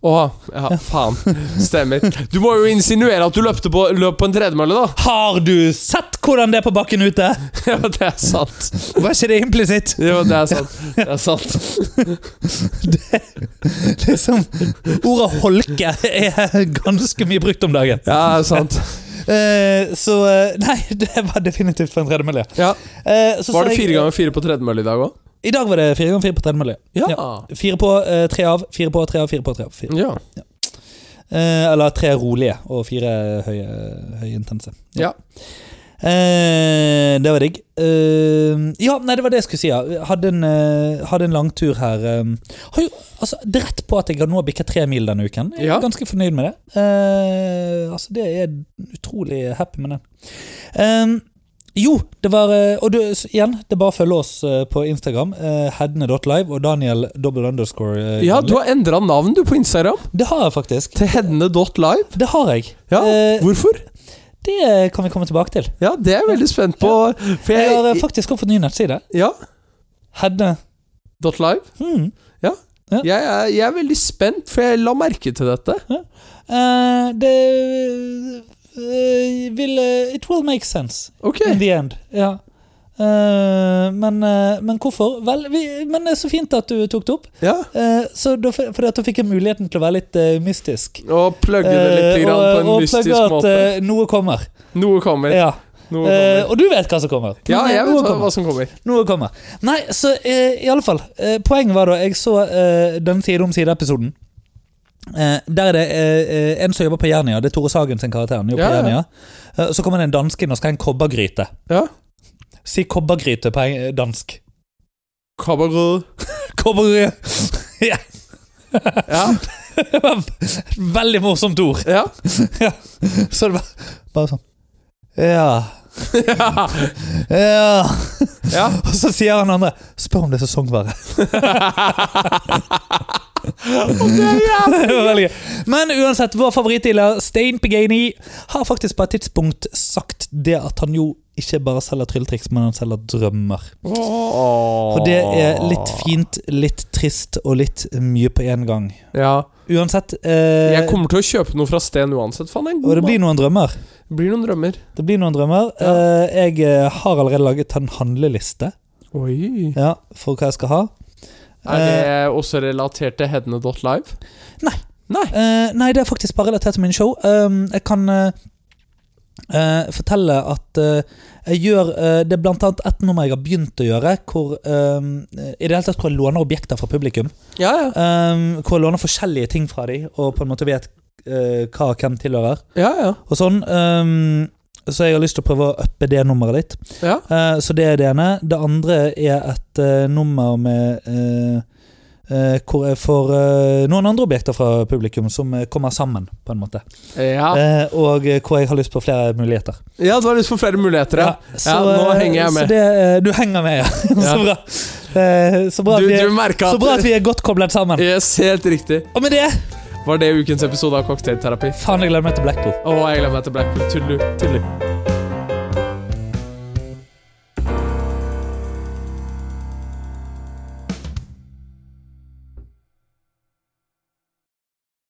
Speaker 2: Å, ja, faen. Stemmer. Du må jo insinuere at du løpte på, løp på en tredemølle, da.
Speaker 1: Har du sett hvordan det er på bakken ute?!
Speaker 2: Ja, det er sant.
Speaker 1: Var ikke det implisitt?
Speaker 2: Jo, det er sant. Det er sant.
Speaker 1: Liksom, ordet 'holke' er ganske mye brukt om dagen.
Speaker 2: Ja, det er sant.
Speaker 1: Eh, så eh, Nei, det var definitivt for en tredemølle.
Speaker 2: Ja.
Speaker 1: Eh, så sa
Speaker 2: Var det
Speaker 1: jeg-
Speaker 2: fire ganger fire på tredemølle i dag òg?
Speaker 1: I dag var det fire ganger fire på tredemølle.
Speaker 2: ja.
Speaker 1: Fire på, eh, tre av, fire på, tre av, fire på, tre av. Fire.
Speaker 2: Ja.
Speaker 1: Eh, eller tre rolige og fire høye, høyintense.
Speaker 2: Ja.
Speaker 1: Eh, det var digg. Eh, ja, nei, det var det jeg skulle si. Ja. Hadde en, eh, hadde en lang tur her. eh. har jo altså, det er rett på at jeg har nå bikka tre mil denne uken. Jeg er
Speaker 2: Ja.
Speaker 1: ganske fornøyd med det. Eh, altså, det er utrolig happy med den. Eh, jo, det var eh, Og du, s- igjen, det er bare å følge oss eh, på Instagram. eh, Hedne.live og Daniel double underscore. eh,
Speaker 2: Ja,
Speaker 1: Daniel.
Speaker 2: du har endra navn du på Instagram
Speaker 1: Det har jeg faktisk.
Speaker 2: til hedne.live.
Speaker 1: Det har jeg.
Speaker 2: Ja,
Speaker 1: Eh,
Speaker 2: hvorfor?
Speaker 1: det kan vi komme tilbake til.
Speaker 2: Ja, det er jeg veldig spent på. For
Speaker 1: Jeg har eh,
Speaker 2: jeg
Speaker 1: faktisk fått ny nettside.
Speaker 2: Ja,
Speaker 1: Hedne.
Speaker 2: dot .live.
Speaker 1: Hmm.
Speaker 2: Jeg er, jeg er veldig spent, for jeg la merke til dette.
Speaker 1: Eh, det eh, vil eh, It will make sense
Speaker 2: Ok.
Speaker 1: in the end. Ja. Eh, men, eh, men hvorfor? Vel, vi, men det er så fint at du tok det opp.
Speaker 2: Ja.
Speaker 1: Eh, så da, f- fordi at da fikk jeg muligheten til å være litt eh, mystisk.
Speaker 2: Og plugge det litt
Speaker 1: Eh,
Speaker 2: grann på en
Speaker 1: og
Speaker 2: mystisk
Speaker 1: plugge at
Speaker 2: måte.
Speaker 1: eh, noe kommer.
Speaker 2: Noe kommer.
Speaker 1: Ja.
Speaker 2: Noe
Speaker 1: Eh,
Speaker 2: kommer.
Speaker 1: og du vet hva som kommer.
Speaker 2: Ja,
Speaker 1: Men, eh,
Speaker 2: jeg
Speaker 1: noe
Speaker 2: vet hva,
Speaker 1: kommer.
Speaker 2: hva som kommer.
Speaker 1: Noe kommer. Nei, så eh, i alle fall. Eh, poenget var da jeg så eh, den side om side-episoden. Eh, der er det eh, eh, en som jobber på Jernia. Det er Tore Sagen sin karakter. Han jobber
Speaker 2: Ja,
Speaker 1: på
Speaker 2: ja.
Speaker 1: Jernia. Eh, så kommer det en danske inn og skal ha en kobbergryte.
Speaker 2: Ja.
Speaker 1: Si kobbergryte på eng- dansk.
Speaker 2: Kabarud.
Speaker 1: Kobbergryte!
Speaker 2: Ja.
Speaker 1: Det var et Veldig morsomt ord.
Speaker 2: ja.
Speaker 1: Så det var bare sånn Ja.
Speaker 2: ja.
Speaker 1: Ja.
Speaker 2: ja.
Speaker 1: Og så sier han andre Spør om det er sesongvare. Det var veldig gøy. Men uansett, vår favorittdealer Stein Pegani har faktisk på et tidspunkt sagt det at han jo ikke bare selger trylletriks, men han selger drømmer. Og det er litt fint, litt trist og litt mye på én gang.
Speaker 2: Ja.
Speaker 1: Uansett eh,
Speaker 2: Jeg kommer til å kjøpe noe fra Sten uansett. Faen, det er en
Speaker 1: Og
Speaker 2: god
Speaker 1: det blir
Speaker 2: mann.
Speaker 1: noen drømmer.
Speaker 2: Det blir noen drømmer.
Speaker 1: Det blir noen drømmer.
Speaker 2: Ja.
Speaker 1: Eh, jeg eh, har allerede laget en handleliste
Speaker 2: Oi.
Speaker 1: ja, for hva jeg skal ha.
Speaker 2: Er det også relatert til hedne.live?
Speaker 1: Eh, nei, det er faktisk bare relatert til min show. Um, jeg kan eh, eh, fortelle at eh, jeg gjør eh, Det er blant annet ett nummer jeg har begynt å gjøre, hvor um, I det hele tatt hvor jeg låner objekter fra publikum.
Speaker 2: Ja, ja.
Speaker 1: Um, hvor jeg låner forskjellige ting fra dem, og på en måte vet eh, hva hvem tilhører.
Speaker 2: Ja, ja.
Speaker 1: Og sånn. Um, så jeg har lyst til å prøve å uppe det nummeret litt.
Speaker 2: ja.
Speaker 1: Eh, så det er det ene. Det andre er et eh, nummer med eh, eh, hvor jeg får eh, noen andre objekter fra publikum som eh, kommer sammen, på en måte.
Speaker 2: Ja,
Speaker 1: Eh, og eh, hvor jeg har lyst på flere muligheter.
Speaker 2: ja du har lyst på flere muligheter, ja.
Speaker 1: så,
Speaker 2: nå
Speaker 1: eh,
Speaker 2: henger jeg med.
Speaker 1: Så det, eh, du henger med, ja. så
Speaker 2: Ja.
Speaker 1: bra. Eh, så, bra
Speaker 2: Du,
Speaker 1: at vi er,
Speaker 2: du merka
Speaker 1: så bra at vi er godt koblet sammen.
Speaker 2: Yes, helt riktig.
Speaker 1: Og med det
Speaker 2: Var det ukens episode av Cocktailterapi?
Speaker 1: Faen, jeg gleder meg til Blackpool.
Speaker 2: Å, jeg gleder meg til Blackpool. Tullu. Tullu.